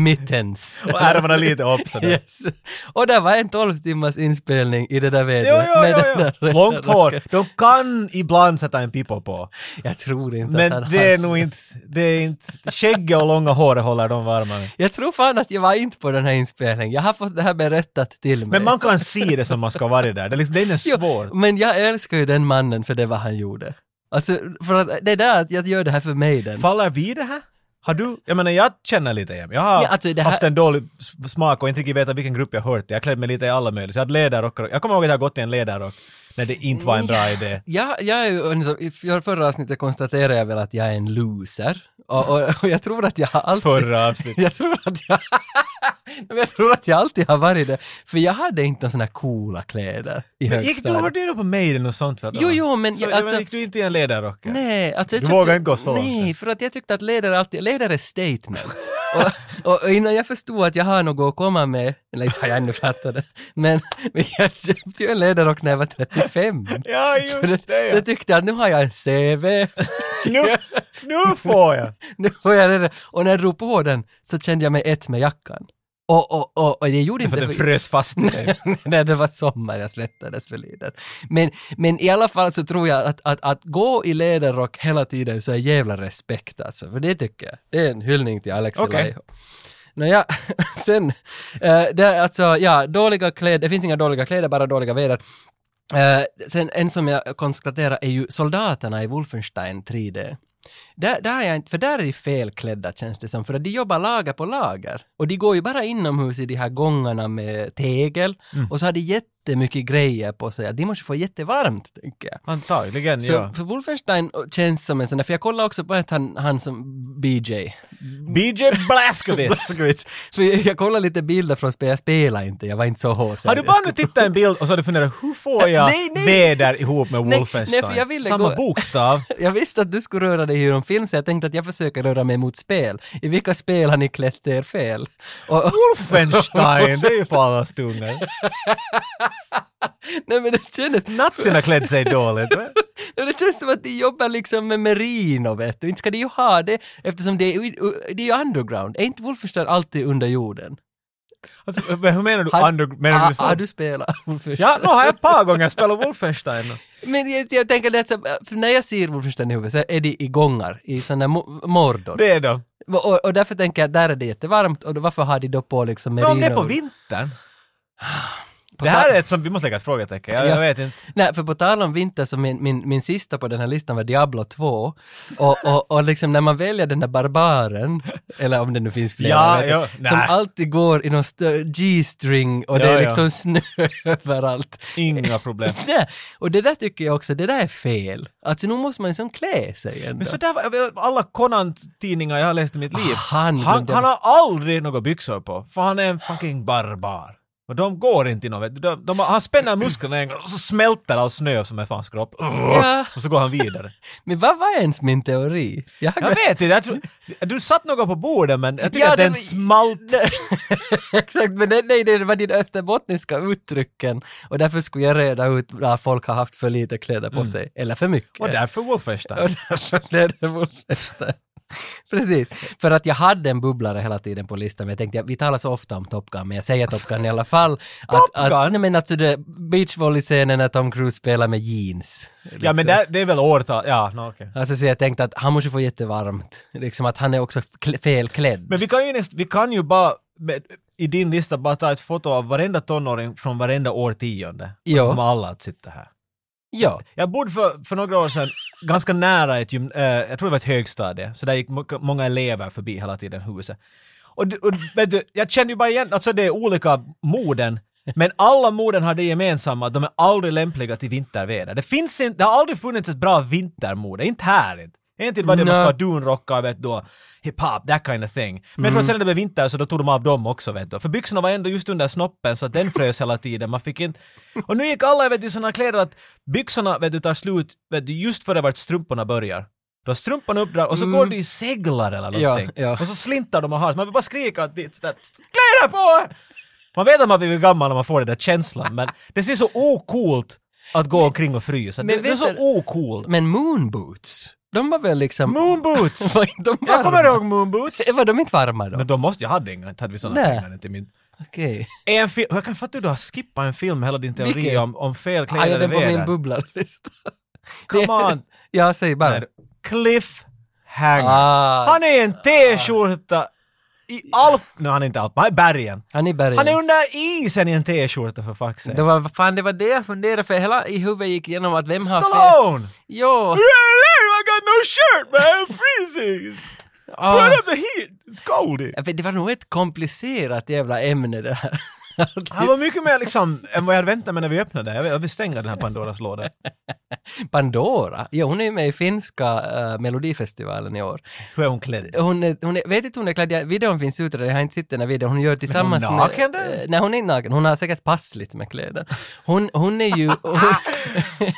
A: mittens.
B: Och ärmarna lite upp sådär.
A: Yes. Och det var en 12 timmars inspelning i det där
B: Jo,
A: vädret
B: jo,
A: med
B: jo,
A: den där
B: jo.
A: ledarrocken.
B: Långt hår. De kan ibland sätta en pipa på.
A: Jag tror inte att
B: Men
A: han
B: det är
A: hade-
B: nog inte, det är inte, skägget och långa håret håller dem varma.
A: Jag tror fan att jag var inte på den här inspelningen. Jag har fått det här berättat till mig.
B: Men man kan se det som man ska vara där. Det är, liksom, det är inte
A: Jo,
B: svårt.
A: Men jag älskar ju den mannen för det vad han gjorde. Alltså, för att det är där att jag gör det här för mig den.
B: Faller vi i det här? Har du, jag menar jag känner lite igen. Jag har
A: Ja, alltså, det här-
B: haft en dålig s- smak och inte riktigt vetat vilken grupp jag hört till. Jag klädde mig lite i alla möjliga. Så jag hade läderrockar. Jag kommer ihåg att jag har gått i en läderrock när det inte var en bra idé.
A: Ja, jag är ju, en sån- i för- förra avsnittet konstaterade jag väl att jag är en loser. Och, och, och jag tror att jag har alltid...
B: Förra avsnittet.
A: Jag tror att jag... Men jag tror att jag alltid har varit det. För jag hade inte några såna coola kläder i
B: Gick du, hörde ju nog på Maiden och sånt väl?
A: Jo, jo, men
B: Så,
A: jag-
B: jag
A: alltså-
B: menar, gick du inte i en läderrock?
A: Nej, alltså jag
B: Du
A: tyckte-
B: vågar inte gå så långt.
A: Nej, för att jag tyckte att leder alltid, leder är statement. och, och, och innan jag förstod att jag har något att komma med, eller inte har jag ännu fattat det, men, men jag köpte ju en lederrock när jag var 35.
B: Ja,
A: För
B: just
A: det,
B: det.
A: det
B: ja.
A: tyckte jag att nu har jag en CV,
B: Nu, nu får jag!
A: nu har jag det. Och när jag drog på den så kände jag mig ett med jackan. Och, och, och, och det gjorde
B: För
A: inte...
B: att den frös fast i dig.
A: när det var sommar, jag svettades för lite. Men, men i alla fall så tror jag att, att, att gå i läderrock hela tiden så är jävla respekt alltså, för det tycker jag. Det är en hyllning till Alexi
B: Okej.
A: Laiho. Nåja, sen, eh, det är alltså, ja, dåliga kläder, det finns inga dåliga kläder, bara dåliga väder. Eh, sen en som jag konstaterar är ju soldaterna i Wolfenstein 3D. Där, där är jag inte, för där är de felklädda känns det som, för att de jobbar lager på lager. Och de går ju bara inomhus i de här gångarna med tegel och så har de jättemycket grejer på sig. De måste få jättevarmt, tänker jag.
B: Antagligen,
A: Så
B: ja.
A: för Wolfenstein känns som en sån där, för jag kollade också på att han, han som BJ,
B: BJ Blazkowicz!
A: Blaskowitz. För jag kollade lite bilder från spel, jag spelade inte, jag var inte så hård.
B: Har du bara nu tittat en bild och så har du funderat hur får jag
A: Nej, nej.
B: väder ihop med
A: Nej,
B: Wolfenstein?
A: nej, för jag ville
B: Samma
A: gå-
B: bokstav.
A: Jag visste att du skulle röra dig genom film så jag tänkte att jag försöker röra mig mot spel. I vilka spel har ni klätt er fel? Och, och,
B: Wolfenstein, det är ju på allas tungor.
A: nej men det kändes,
B: Nazierna klädde sig dåligt.
A: Ja, Det känns som att de jobbar liksom med merino, vet du. Inte ska de ju ha det, eftersom det är, det är ju underground. Är inte Wolfenstein alltid under jorden?
B: Alltså, men hur menar du?
A: Har-
B: Under, menar
A: Ah,
B: du så?
A: har du spelat Wolfenstein?
B: Ja, nu har jag ett par gånger spelat Wolfenstein.
A: Men jag, jag tänker det är så, för när jag ser Wolfenstein i huvudet så är det i gångar, i sådana mo- Mordor.
B: Det är de.
A: Och, och- och därför tänker jag att där är det jättevarmt och då, varför har de då på liksom
B: Men
A: merino?
B: om det är på vintern?
A: På
B: Det här
A: tal-
B: är ett som, vi måste lägga ett frågetecken. Jag,
A: Ja.
B: jag vet inte.
A: Nej, för på tal om vinter så min, min, min sista på den här listan var Diablo 2 och, och, och liksom när man väljer den där barbaren, eller om det nu finns flera,
B: Ja,
A: jag vet
B: ja,
A: inte, som
B: nej.
A: alltid går i någon stö- G-string och det
B: Ja,
A: är
B: ja.
A: liksom snö överallt.
B: Inga problem.
A: Nej, och det där tycker jag också, det där är fel. Alltså nu måste man liksom klä sig ändå.
B: Men så där var, alla Conan-tidningar jag har läst i mitt liv,
A: Ah, Han
B: han,
A: glömde-
B: han har aldrig några byxor på, för han är en fucking barbar. Och de går inte i något, vet du. de, de, han spänner musklerna en gång och så smälter all snö som är på hans kropp.
A: Ja.
B: Och så går han vidare.
A: Men vad var ens min teori? Jag har
B: Jag
A: glömt-
B: vet inte, jag tror, du satt något på bordet men jag tycker
A: Ja,
B: att
A: det
B: den
A: var-
B: smalt.
A: Exakt, men det, nej, det var dina österbottniska uttrycken och därför skulle jag reda ut när folk har haft för lite kläder på sig, eller för mycket.
B: Mm. Och därför Wolfenstein.
A: Och därför blev det Wolfenstein. Precis, för att jag hade en bubblare hela tiden på listan, men jag tänkte, ja, vi talar så ofta om Top Gun, men jag säger Top Gun i alla fall. Att,
B: Top
A: Att,
B: Gun?
A: nej men alltså det, beachvolley-scenen när Tom Cruise spelar med jeans.
B: Ja men
A: liksom.
B: där, det är väl årtal, ja no, okej.
A: Alltså så jag tänkte att han måste få jättevarmt, liksom att han är också kl- felklädd.
B: Men vi kan ju, näst, vi kan ju bara, med, i din lista, bara ta ett foto av varenda tonåring från varenda årtionde. Och
A: Ja.
B: Då kommer alla att sitta här.
A: ja.
B: Jag bodde för, för några år sedan ganska nära ett gym, eh, jag tror det var ett högstadie, så där gick mo- många elever förbi hela tiden huset. Och, d- och vet du, jag kände ju bara igen, alltså det är olika moden, men alla moden har det gemensamma, att de är aldrig lämpliga till vinterväder. Det finns inte, det har aldrig funnits ett bra vintermode, inte här inte. En tid var det man ska
A: Nej.
B: ha dunrockar, vet du, och hiphop, that kind of thing. Men mm. sen när det blev vinter så då tog de av dem också, vet du. För byxorna var ändå just under snoppen så att den frös hela tiden, man fick inte... Och nu gick alla, vet du, i såna kläder att byxorna, vet du, tar slut, vet du, just före vart strumporna börjar. Då har strumporna uppdrar och så går du i seglar eller någonting.
A: Ja, ja.
B: Och så slintar de och har, man vill bara skrika åt dit sådär, kläder på er! Man vet att man blir gammal när man får den där känslan, men det ser så ocoolt att gå omkring och frysa.
A: Men
B: Det, det är
A: vet
B: så
A: du-
B: ocoolt.
A: Men moonboots, de var väl liksom...
B: Moonboots!
A: Var inte de varma?
B: Jag kommer ihåg moonboots.
A: Var de inte varma då?
B: Men de måste, jag hade inga, inte hade vi sådana
A: Nej.
B: pengar till min.
A: Okej.
B: En film, jag kan fatta hur du har skippat en film, hela din teori
A: Vilken?
B: om, om fel
A: Ah, ja,
B: kläder
A: den på min
B: väder.
A: bubblarlista.
B: Come on!
A: Ja, säg bara.
B: Cliffhanger.
A: Ah,
B: Han är en t-skjorta I Alp... Nej, han är inte Alp. Han är bergen.
A: Han är i bergen.
B: Han är under isen i en t-skjorta för fuck's
A: Det
B: sake.
A: var, vad fan, det var det jag funderade för hela i huvudet gick igenom att vem har fel?
B: Stallone!
A: Jo!
B: Really? I got no shirt man, I'm freezing!
A: ah.
B: Put up the heat, it's cold! in.
A: Ja, för Det var nog ett komplicerat jävla ämne det här.
B: Han var mycket mer liksom än vad jag hade väntat mig när vi öppnade. Jag vill- Jag vill stänga den här Pandoras låda.
A: Pandora, ja hon är med i finska eh, melodifestivalen i år.
B: Hur är hon klädd?
A: Hon, är, hon är, vet inte hon är klädd, Ja, videon finns ute där, jag har inte sett den här videon, hon gör tillsammans
B: hon är naken
A: med...
B: där?
A: eh, Nej hon är inte naken, hon har säkert passligt med kläder. Hon, hon är ju... Hon,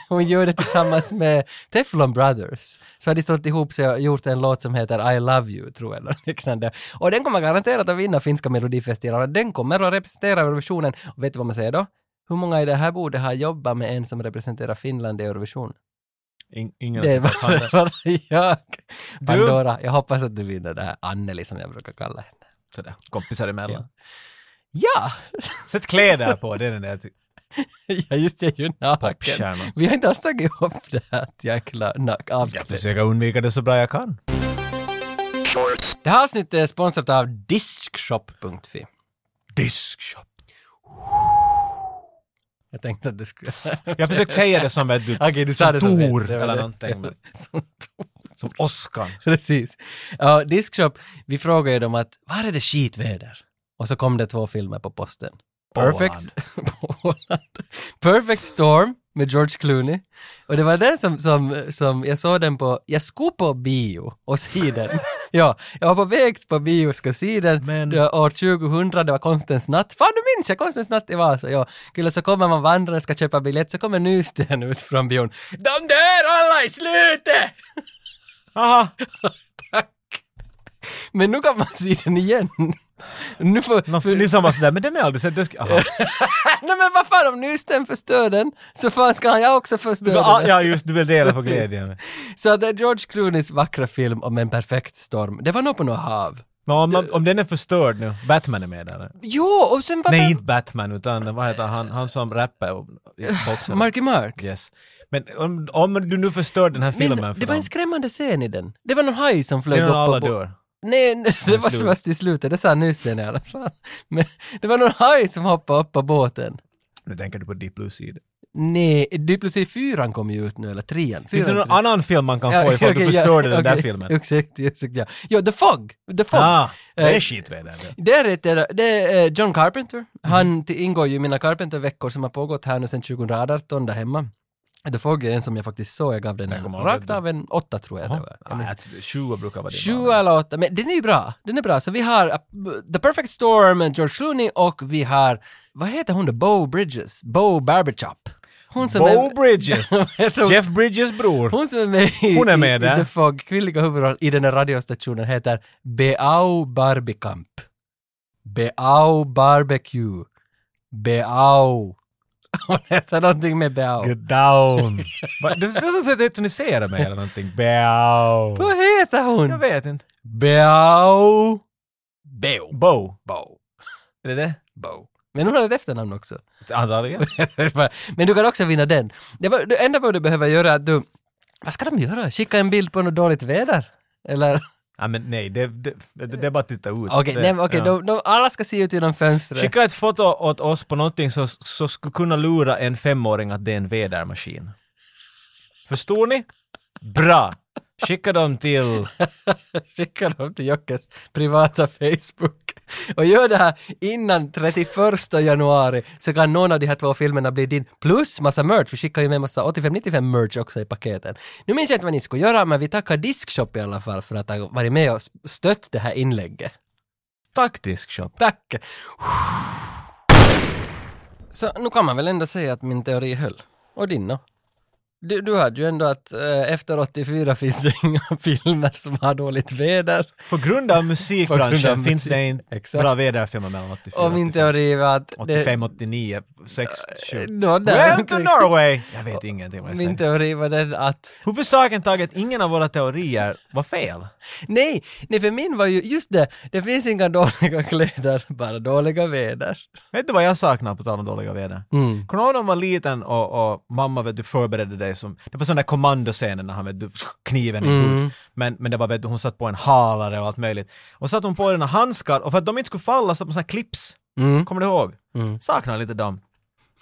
A: hon gör det tillsammans med Teflon Brothers. Så har de stått ihop sig och gjort en låt som heter I Love You, tror jag, eller liknande. Och den kommer garanterat att vinna finska melodifestivalen, den kommer att representera Eurovisionen. Och vet du vad man säger då? Hur många i det här bordet har jobbat med en som representerar Finland i Eurovision?
B: In, ingen
A: Det
B: har sett hans
A: var
B: händer.
A: bara jag. Pandora, jag hoppas att du vinner det här. Anneli som jag brukar kalla henne.
B: Sådär, kompisar emellan.
A: Ja!
B: Sätt kläder på, det är den där typ ty-
A: ja just det, jag är ju naken.
B: popstjärnan.
A: Vi har inte ens tagit ihop det här att jag är klar, nak,
B: Jag
A: avklädd.
B: försöker undvika det så bra jag kan.
A: Det här avsnittet är sponsrat av Diskshop.fi.
B: Diskshop.
A: Jag tänkte att du skulle... Okej,
B: Jag försökte säga det som vet du,
A: du sa
B: som
A: det som
B: Tor
A: rätt. Det var
B: eller
A: det.
B: någonting. Men,
A: som Tor.
B: som Oskar.
A: Precis. Ja, Diskshop, vi frågade ju dem att var är det skitväder? Och så kom det två filmer på posten. Perfect, på Åland. Perfect Storm med George Clooney. Och det var den som, som, som jag såg den på, jag skulle på bio och se den. ja, jag var på väg på bio och ska se den.
B: Men-
A: Det var år 2000, det var konstens natt. Fan, du minns jag konstens natt i Vasa. Ja, kul, så kommer man vandrande, ska köpa biljett, så kommer Nysten ut från bion. De dör alla i slutet!
B: Aha,
A: Men nu kan man se den igen. Nu får,
B: någon, liksom var sådär, men den är aldrig sedd. den ska- aha.
A: Nej men vad fan om Nysten förstör den så fan ska han jag också förstöra
B: Ah,
A: den.
B: Ja, just du vill dela på
A: Precis.
B: glädjen.
A: Så det är George Clooneys vackra film om en perfekt storm. Det var nog på något hav.
B: Men om, om, om den är förstörd nu, Batman är med där. eller?
A: Jo, och sen var
B: Nej, inte Batman, utan vad heter han, han som rappar och i boxen.
A: Marky Mark.
B: Yes. Men om, om du nu förstör den här filmen
A: Men
B: för
A: det var
B: dem,
A: en skrämmande scen i den. Det var någon haj som
B: det
A: flög
B: är
A: upp
B: när alla
A: på...
B: dör.
A: Nej, nej, det
B: Till
A: var
B: slut.
A: först i slutet, det sa Nysten i alla fall. Men det var någon haj som hoppade upp på båten.
B: Nu tänker du på Deep Blue Sea.
A: Nej, Duplicity 4 kom ju ut nu, eller 3
B: Finns det någon annan film man kan få ifall du
A: okej,
B: förstörde den där
A: okej.
B: filmen?
A: Exakt, exakt ja. Ja, The Fog! The Fog!
B: Ah, det
A: Eh,
B: är skitväder. det.
A: Där heter det- det är eh, John Carpenter.
B: Mm.
A: Han till- ingår ju i mina Carpenter-veckor som har pågått här nu sedan 2018 där hemma. The Fog är en som jag faktiskt såg, jag gav den
B: Jag
A: en,
B: kommer ihåg
A: rakt
B: den.
A: av en åtta tror jag det var. Jag minns
B: Ah, att Sjua brukar vara din
A: Sju eller åtta, men den är ju bra. Den är bra. Så vi har uh, The Perfect Storm med George Clooney och vi har, vad heter hon då? Bo Bridges? Bo Barberchop. Hon som
B: Bo
A: är...
B: Bridges!
A: Jag tror-
B: Jeff Bridges bror.
A: Hon som är med i,
B: Hon är med
A: i, i
B: där.
A: The Fog, kvinnliga huvudroll i den här radiostationen heter Beau Barbikamp. Beau Barbecue. Beau. Hon heter någonting med Beau.
B: Get down! Va, Det är som att du hypnotiserar mig eller någonting. Bow.
A: Vad heter
B: Jag
A: hon?
B: vet inte.
A: Beau. Beau.
B: Bo.
A: Beau.
B: Är det det?
A: Beau. Men hon har ett efternamn också.
B: Antagligen.
A: Men du kan också vinna den. Det, var, det enda vad du behöver göra är att du... Vad ska de göra? Skicka en bild på något dåligt väder? Eller?
B: Ja, men nej, det, det, det, det är bara att titta ut.
A: Okej,
B: Det-
A: nej, men okej,
B: ja.
A: de, de, alla ska se ut genom fönstret.
B: Skicka ett foto åt oss på någonting som, som skulle kunna lura en femåring att det är en vädermaskin. Förstår ni? Bra! Skicka dem till...
A: skicka dem till Jockes privata Facebook. Och gör det här innan 31 januari så kan någon av de här två filmerna bli din. Plus massa merch, vi skickar ju med massa 85-95 merch också i paketen. Nu minns jag inte vad ni skulle göra men vi tackar Diskshop i alla fall för att ha varit med och stött det här inlägget.
B: Taktisk shop.
A: Tack! Så nu kan man väl ändå säga att min teori höll. Och din då? Du, du hade ju ändå att eh, efter 84 finns det inga filmer som har dåligt väder.
B: På grund av musikbranschen
A: På grund av
B: finns
A: musik-
B: det inte
A: Exakt.
B: bra väderfilmer mellan 84
A: Och min teori var att... det- Eh,
B: 85, 89, sex, sju.
A: Nå, nej,
B: Welcome
A: inte
B: to
A: riktigt.
B: Norway! Jag vet ingenting vad jag
A: Min
B: säger.
A: teori var den att...
B: Huvudsaken taget, ingen av våra teorier var fel.
A: Nej, nej, för min var ju just det. Det finns inga dåliga kläder, bara dåliga väder.
B: Vet du vad jag saknar på tal om dåliga väder?
A: Mm.
B: Kommer du ihåg när man var liten och, och mamma vet du, förberedde dig som, det var sån där kommandoscenen när han vet du, kniven i
A: Mm.
B: mm. men, men det var vet du, hon satt på en halare och allt möjligt. Och satt hon på dina handskar och för att de inte skulle falla satt man såna här clips.
A: Mm.
B: Kommer du ihåg?
A: Mm.
B: Saknar lite dem.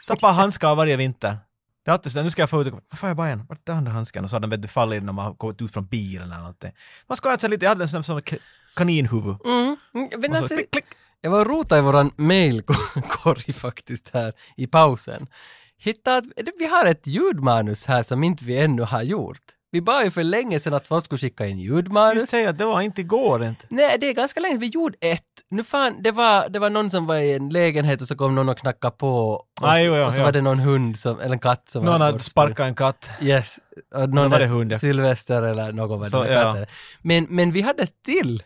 B: Tappar handskar varje vinter. Det är alltid sådär, nu ska jag få ut och varför har jag bara en? Vart är den andra handsken? Och så hade den vet du fallit när man har kommit ut från bilen eller någonting. Man ska ha ett sånt lite, jag hade en sån där- sån där kaninhuvud.
A: Mm. Men
B: Och så
A: alltså,
B: klick, klick.
A: jag var och rotade i våran mailkorg faktiskt här i pausen. Hittade att eller, vi har ett ljudmanus här som inte vi ännu har gjort. Vi bad ju för länge sedan att folk skulle skicka in
B: Just
A: ljudmanus.
B: säga att det var inte igår inte.
A: Nej, det är ganska länge sedan vi gjorde ett. Nu fan, det var, det var någon som var i en lägenhet och så kom någon och knackade på. Och,
B: Ah,
A: så,
B: jo, ja,
A: och så
B: ja.
A: var det någon hund som, eller en katt som
B: Någon
A: hade
B: har
A: gått-
B: sparkat en katt.
A: Yes. Och
B: Då
A: någon
B: var det
A: ett
B: hund, ja.
A: Sylvester eller någon var
B: Så,
A: det.
B: ja.
A: Ja. Men, men vi hade ett till.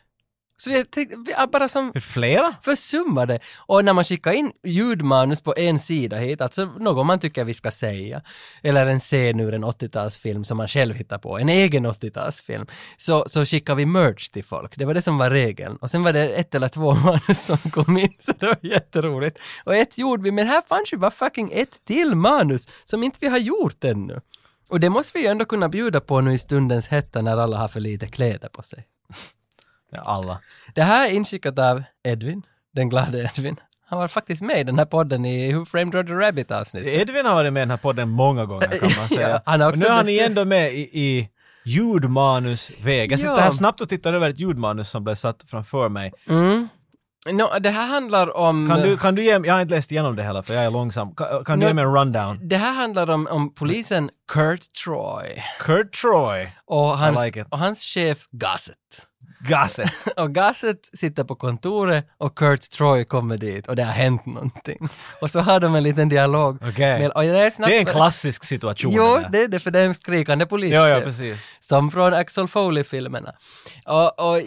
A: Så jag tänkte, vi har bara som
B: Flera?
A: försummade. Och när man skickar in ljudmanus på en sida hit, alltså något man tycker vi ska säga, eller en scen ur en 80-talsfilm som man själv hittar på, en egen 80-talsfilm, så, så skickar vi merch till folk. Det var det som var regeln. Och sen var det ett eller två manus som kom in, så det var jätteroligt. Och ett gjorde vi, men här fanns ju bara fucking ett till manus som inte vi har gjort ännu. Och det måste vi ju ändå kunna bjuda på nu i stundens hetta när alla har för lite kläder på sig.
B: Ja, alla.
A: Det här är inskickat av Edvin, den glada Edvin. Han var faktiskt med i den här podden i Who Framed Roger Rabbit avsnitt.
B: Edvin har varit med i den här podden många gånger kan man säga.
A: Ja, han har
B: och
A: också
B: nu är han
A: besökt-
B: igen då med i, i ljudmanusväg. Jag sitter
A: Ja.
B: här snabbt och tittar över ett ljudmanus som blev satt framför mig.
A: Mm. Nå, det här handlar om... eh,
B: Kan du, kan du ge mig, jag har inte läst igenom det heller för jag är långsam. Kan, kan du
A: Nu-
B: ge mig en rundown?
A: Det här handlar om, om polisen Kurt Troy
B: Kurt Troy,
A: och hans,
B: like it.
A: och hans chef Gossett.
B: Gasset.
A: Och Gossett sitter på kontoret och Kurt Troy kommer dit och det har hänt någonting. Och så har de en liten dialog.
B: Okej.
A: Men- och det, är snabbt,
B: Det är en klassisk situation.
A: Jo,
B: där.
A: det är det, för det är en skrikande polischef.
B: ja, ja, precis.
A: Som från Axel Foley-filmerna. Och, och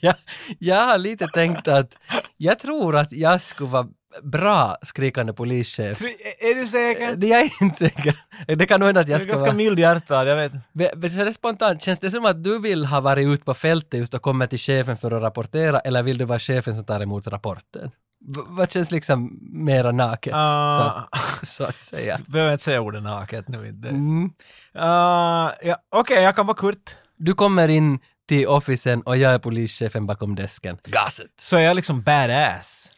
A: jag, jag har lite tänkt att jag tror att jag skulle vara bra skrikande polischef.
B: Är, är du säker?
A: Det är jag inte säker. Det kan nog hända att
B: Du
A: jag
B: är
A: ska
B: ganska
A: vara...
B: mild hjärtad, jag vet.
A: Men- men Så det är spontant, känns det som att du vill ha varit ute på fältet just och kommit till chefen för att rapportera eller vill du vara chefen som tar emot rapporten? V- vad känns liksom mera naket,
B: Ah.
A: så, så att säga?
B: Behöver inte säga ordet naket nu inte.
A: Mm.
B: Ah, ja, Okej, jag kan vara Kurt.
A: Du kommer in till officen och jag är polischefen bakom desken. Gasset!
B: så är jag liksom badass.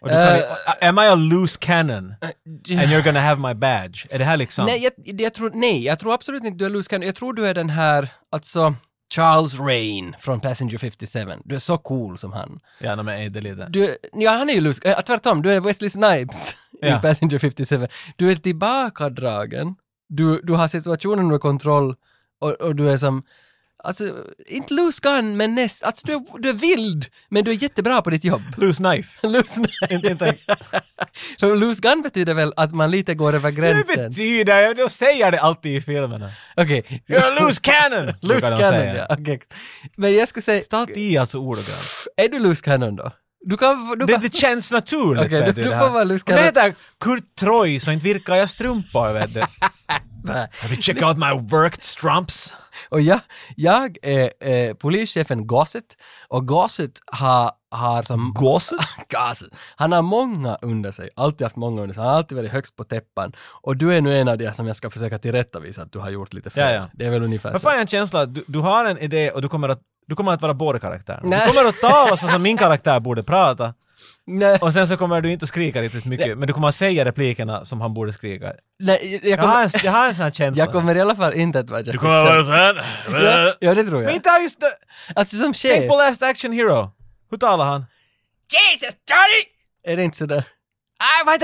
B: Och du kan,
A: Eh,
B: am I a loose cannon? And you're gonna have my badge? Är det här liksom...
A: Nej, jag, jag tror, nej, jag tror absolut inte du är Lucian. Jag tror du är den här, alltså Charles Rain från Passenger 57. Du är så cool som han.
B: Ja, nej, men är det lite...
A: Du, ja, han är ju Lucian. Äh, tvärtom, du är Wesley Snipes
B: Ja.
A: i Passenger 57. Du är tillbakadragen. Du, du har situationen under kontroll och, och du är som Alltså, inte loose gun, men näst. Alltså, du är, du är vild, men du är jättebra på ditt jobb.
B: Loose knife.
A: Loose,
B: Inte- inte-
A: så loose gun betyder väl att man lite går över
B: Det
A: gränsen?
B: betyder, jag de säger det alltid i filmerna.
A: Okej.
B: You're a loose cannon!
A: Loose
B: brukar de
A: cannon,
B: säga.
A: ja. Okej. Men jag skulle säga,
B: Det är alltid i alltså ordagrant.
A: är du loose cannon då? Du kan... Du
B: Det,
A: kan
B: det känns naturligt.
A: Okej,
B: vet
A: du-
B: det
A: du
B: här.
A: får vara loose
B: Om jag
A: cannon.
B: heter Kurt Troy så inte virkar jag strumpor, vet du. Have you check out my worked strumps?
A: och jag, jag är eh, polischefen Gossett och Gossett har, har som...
B: Gåset?
A: Gossett. Han har många under sig, alltid haft många under sig, han har alltid varit högst på täppan. Och du är nu en av de som jag ska försöka tillrättavisa att du har gjort lite fel.
B: Ja, ja.
A: Det är väl ungefär
B: Jag
A: så.
B: får en känsla att du, du har en idé och du kommer att, du kommer att vara båda karaktärerna. Du
A: Nej.
B: kommer att tala så som min karaktär borde prata
A: Nej,
B: och sen så kommer du inte att skrika riktigt mycket men du kommer att säga replikerna som han borde skrika.
A: nej, jag
B: Jag har en,
A: kommer...
B: jag har en sån här känsla.
A: Jag kommer i alla fall inte att vara Jack
B: såhär...
A: Ja, ja, det tror
B: Men
A: jag.
B: inte har just...
A: Alltså som
B: Tänk
A: chef,
B: på Last Action Hero. Hur talar han?
A: är det inte sådär?
B: Ah, vad är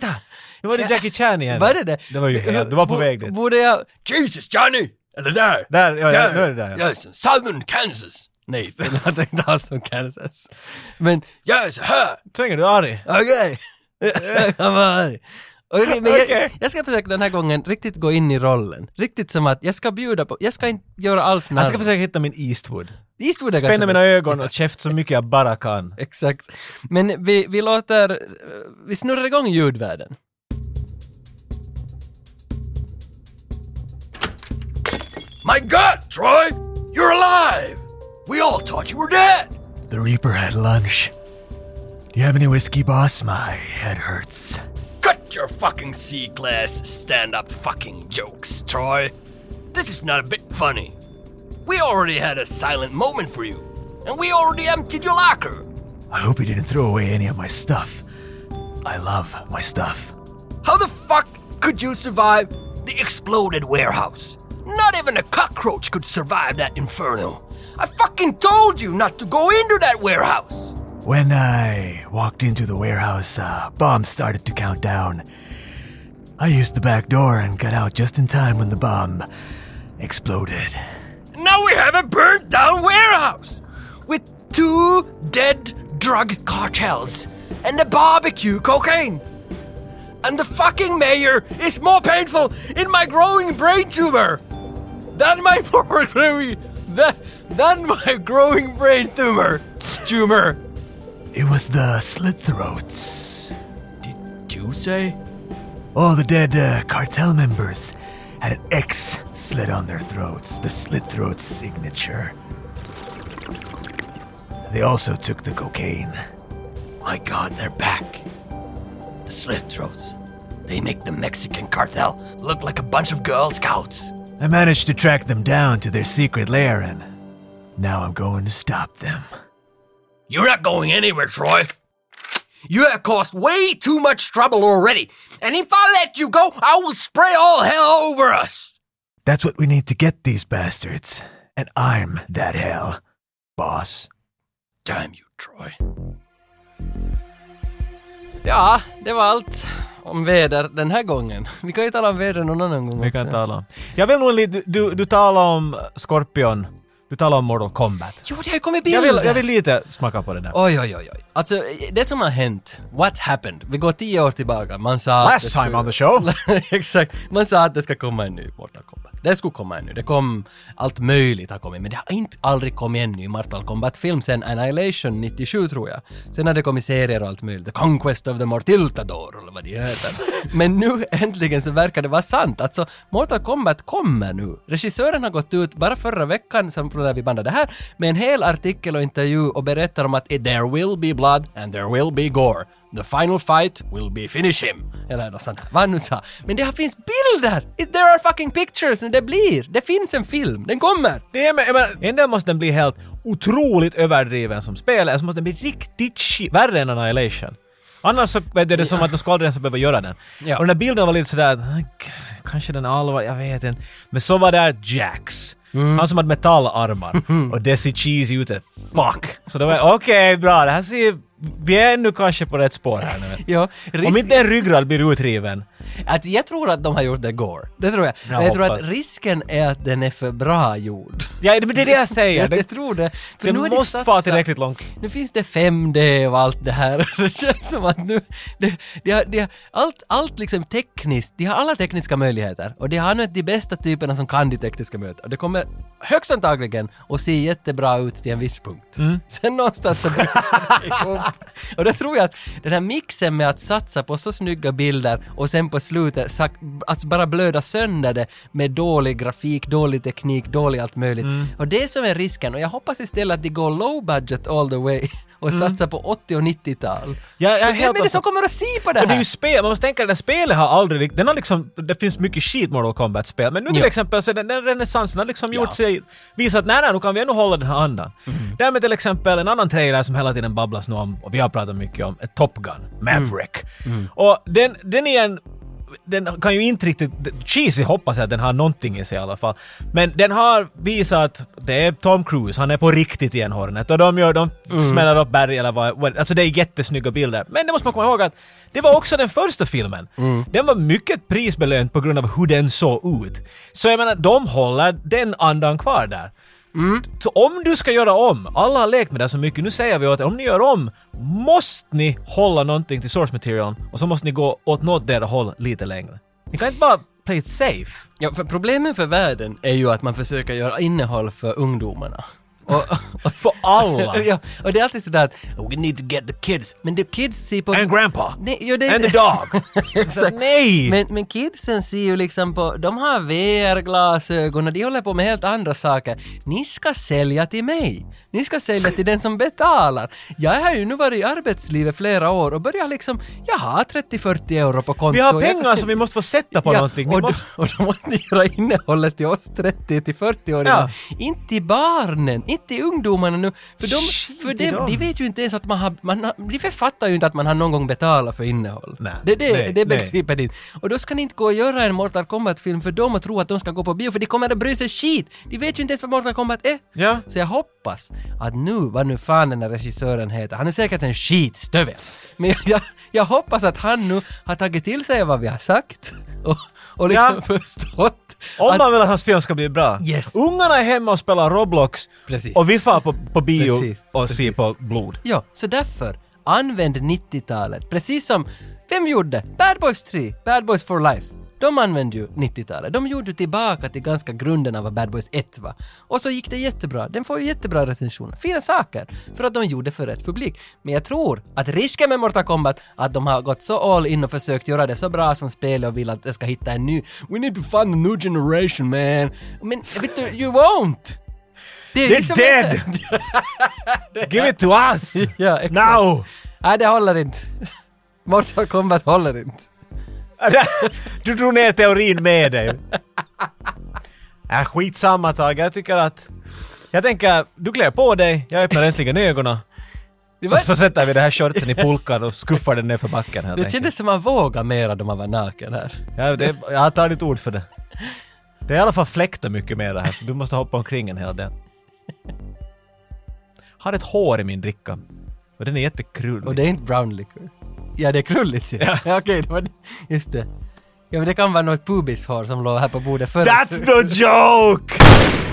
B: det? Nu var det Jackie Chan igen.
A: Var det det?
B: Det var ju helt... Du var på
A: Bo-
B: väg dit.
A: Borde jag... Jesus Johnny! Eller där!
B: Där, ja, ja, nu är det där. Ja.
A: Yes, Southern Kansas! Nej, det låter inte alls som Kansas. Men jag är så här!
B: Svänger du arg?
A: Okej! Jag var arg. Okej, men jag,
B: Okej.
A: jag ska försöka den här gången riktigt gå in i rollen. Riktigt som att jag ska bjuda på, jag ska inte göra alls narr.
B: Jag ska försöka hitta min Eastwood.
A: Eastwood är kanske
B: Spänna mina
A: bra.
B: ögon och käft så mycket jag bara kan.
A: Exakt. Men vi, vi låter, eh, vi snurrar igång ljudvärlden. My God, Troy! You're alive! We all thought you were dead!
B: The Reaper had lunch. Do you have any whiskey, boss? My head hurts.
A: Cut your fucking C-class stand-up fucking jokes, Troy. This is not a bit funny. We already had a silent moment for you, and we already emptied your locker.
B: I hope you didn't throw away any of my stuff. I love my stuff.
A: How the fuck could you survive the exploded warehouse? Not even a cockroach could survive that inferno. I fucking told you not to go into that warehouse.
B: When I walked into the warehouse, uh, bombs started to count down. I used the back door and got out just in time when the bomb exploded.
A: Now we have a burnt down warehouse with two dead drug cartels and the barbecue cocaine. And the fucking mayor is more painful in my growing brain tumor than my poor growing than, than my growing brain tumor tumor.
B: It was the slit throats.
A: Did you say?
B: All the dead uh, cartel members had an X slit on their throats, the slit throat signature. They also took the cocaine.
A: My god, they're back. The slit throats. They make the Mexican cartel look like a bunch of Girl Scouts.
B: I managed to track them down to their secret lair, and now I'm going to stop them.
A: You're not going anywhere, Troy. You have caused way too much trouble already. And if I let you go, I will spray all hell over us.
B: That's what we need to get these bastards. And I'm that hell, boss.
A: Damn you, Troy. Ja, det var allt om väder den här gången. Vi kan ju tala om väder någon annan gång
B: Vi kan
A: också.
B: tala om. Jag vill nog en lite, du, du talar om Scorpion, du talar om Mortal Kombat.
A: Jo, det har ju kommit
B: Jag
A: bilder.
B: vill, jag vill lite smaka på det där.
A: Oj, oj, oj, oj. Alltså, det som har hänt, what happened? Vi går tio år tillbaka, man sa... att det
B: Last time
A: skulle-
B: on the show!
A: Exakt. Man sa att det ska komma en ny Mortal Kombat. Det skulle komma en ny. Det kom... Allt möjligt har kommit, men det har inte aldrig kommit en ny Mortal Kombat-film sen Annihilation 97, tror jag. Sen har det kommit serier och allt möjligt. The Conquest of the Mortiltador, eller vad det heter. men nu äntligen så verkar det vara sant. Alltså, Mortal Kombat kommer nu. Regissören har gått ut bara förra veckan, som från när vi bandade här, med en hel artikel och intervju och berättar om att “There will be blood and there will be gore”. The final fight will be finish him. Eller något sånt. Vad han nu sa. Men det här finns bilder! It, there are fucking pictures! Det blir! Det finns en film! Den kommer!
B: Det är med, jag menar, en del måste den bli helt otroligt överdriven som spel, eller så måste den bli riktigt shit, värre än Annihilation. Annars så vet jag, det är som att de skulle aldrig ens behöva göra den.
A: Ja.
B: Och den där bilden var lite sådär, "Ah, k- kanske den är allvarlig, jag vet inte. Men så var där Jax.
A: Mm.
B: Han som hade metallarmar. och det ser cheesy ut as fuck. Så då var jag, okej bra, det här ser... Vi är nu kanske på rätt spår här nu.
A: Ja,
B: Om
A: risk,
B: inte en ryggrad blir utriven.
A: att jag tror att de har gjort det gore. Det tror jag. Men jag tror att risken är att den är för bra gjord.
B: Ja, men det är det jag säger.
A: Jag,
B: Det,
A: tror det. För
B: det
A: nu har de
B: måste vara
A: satsat-
B: tillräckligt långt.
A: Nu finns det 5D och allt det här. Det känns som att nu... Det, det, har- det, har- allt, allt liksom tekniskt, de har alla tekniska möjligheter. Och de har använt de bästa typerna som kan de tekniska möjligheterna. Och det kommer högst antagligen att se jättebra ut till en viss punkt. Sen någonstans så bryter det ihop. Och det tror jag att den här mixen med att satsa på så snygga bilder och sen på slutet sak- att bara blöda sönder det med dålig grafik, dålig teknik, dålig allt möjligt.
B: Mm.
A: Och det som är risken och jag hoppas istället att de går low budget all the way och satsar på 80 och 90-tal.
B: Mm. Ja, jag är
A: För
B: helt
A: Vem är det
B: alltså-
A: som kommer att se på det
B: Men det är
A: här?
B: ju spel, man måste tänka att det här spelet har aldrig rikt- den har liksom, det finns mycket skit Mortal Kombat-spel, men nu till
A: Ja.
B: exempel så är den, den renässansen har liksom gjort sig, visat nej, nej, nu kan vi ändå hålla den här andan. Därmed till exempel en annan trailer som hela tiden babblas nu om, och vi har pratat mycket om, är Top Gun, Maverick. Och den, den är en den kan ju inte riktigt... Cheesy hoppas jag att den har någonting i sig i alla fall. Men den har visat att det är Tom Cruise, han är på riktigt i en hornet och de gör... De smäller upp berg eller vad... vad- Alltså det är jättesnygga bilder. Men det måste man komma ihåg att det var också den första filmen.
A: Mm.
B: Den var mycket prisbelönt på grund av hur den såg ut. Så jag menar, de håller den andan kvar där.
A: Mm.
B: Så om du ska göra om, alla har lekt med det här så mycket, nu säger vi åt er, om ni gör om, måste ni hålla någonting till source material och så måste ni gå åt något där håll lite längre. Ni kan inte bara play it safe.
A: Ja, för problemet för världen är ju att man försöker göra innehåll för ungdomarna. Och,
B: För alla.
A: ja, och det är alltid sådär att "Oh, “We need to get the kids”, men the kids ser på...
B: And grandpa.
A: Nej, ja, det,
B: And the dog. Så, Nej!
A: Men, men kidsen ser ju liksom på, de har VR-glasögon och de håller på med helt andra saker. Ni ska sälja till mig. Ni ska sälja till den som betalar. Jag har ju nu varit i arbetslivet flera år och börjar liksom, jag har 30-40 euro på kontot.
B: vi har
A: Jag-
B: pengar som vi måste få sätta på någonting. Vi
A: och,
B: måste...
A: då, och då måste ni göra innehållet till oss 30 till 40-åringar. Inte till barnen, inte till ungdomarna nu. För, de, för
B: i
A: de,
B: dem.
A: de vet ju inte ens att man har, man har, de fattar ju inte att man har någon gång betalat för innehåll.
B: Nej,
A: det, det,
B: nej,
A: det
B: nej.
A: begriper de inte. Och då ska ni inte gå och göra en Mortal Kombat-film för dem och tro att de ska gå på bio, för de kommer att bry sig skit. De vet ju inte ens vad Mortal Kombat är.
B: Ja.
A: Så jag hoppas att nu, vad nu fan den här regissören heter, han är säkert en skitstövel. Men jag, jag hoppas att han nu har tagit till sig vad vi har sagt och, och liksom
B: Ja.
A: förstått
B: Om
A: att...
B: man vill att hans film ska bli bra.
A: Yes.
B: Ungarna är hemma och spelar Roblox
A: Precis.
B: och vi far på, på bio
A: Precis,
B: och ser
A: precis.
B: på blod.
A: Ja, så därför, använd 90-talet, precis som, vem gjorde? Bad Boys 3, Bad Boys for Life. De använde ju 90-talet. De gjorde ju tillbaka till ganska grunden av vad Bad Boys 1 var. Och så gick det jättebra. Den får ju jättebra recensioner. Fina saker. För att de gjorde för rätt publik. Men jag tror att risken med Mortal Kombat, att de har gått så all in och försökt göra det så bra som spel och vill att det ska hitta en ny. We need to find a new generation man. Men vet du, you won't! Det är liksom-
B: They're dead! Give it to us!
A: Ja, exakt.
B: Now!
A: Nej, det håller inte. Mortal Kombat håller inte.
B: du drog ner teorin med dig. Äh, skitsamma Tage, jag tycker att... Jag tänker, du klär på dig, jag öppnar äntligen ögonen.
A: Det,
B: Och
A: var,
B: så sätter vi den här shortsen i pulkan och skuffar den ner för backen helt
A: det
B: enkelt.
A: kändes som man vågade mer då man var naken här.
B: Ja, det, jag tar ditt ord för det. Det är i alla fall fläktar mycket mer det här, så du måste hoppa omkring en hel del. Har ett hår i min dricka. Och den är jättekrullig.
A: Och det är inte brown liquor. Ja, det är krulligt ser jag. Ja. Okej, det var det. Just det. Ja, men det kan vara något pubishår som låg här på bordet förr.
B: That's the joke!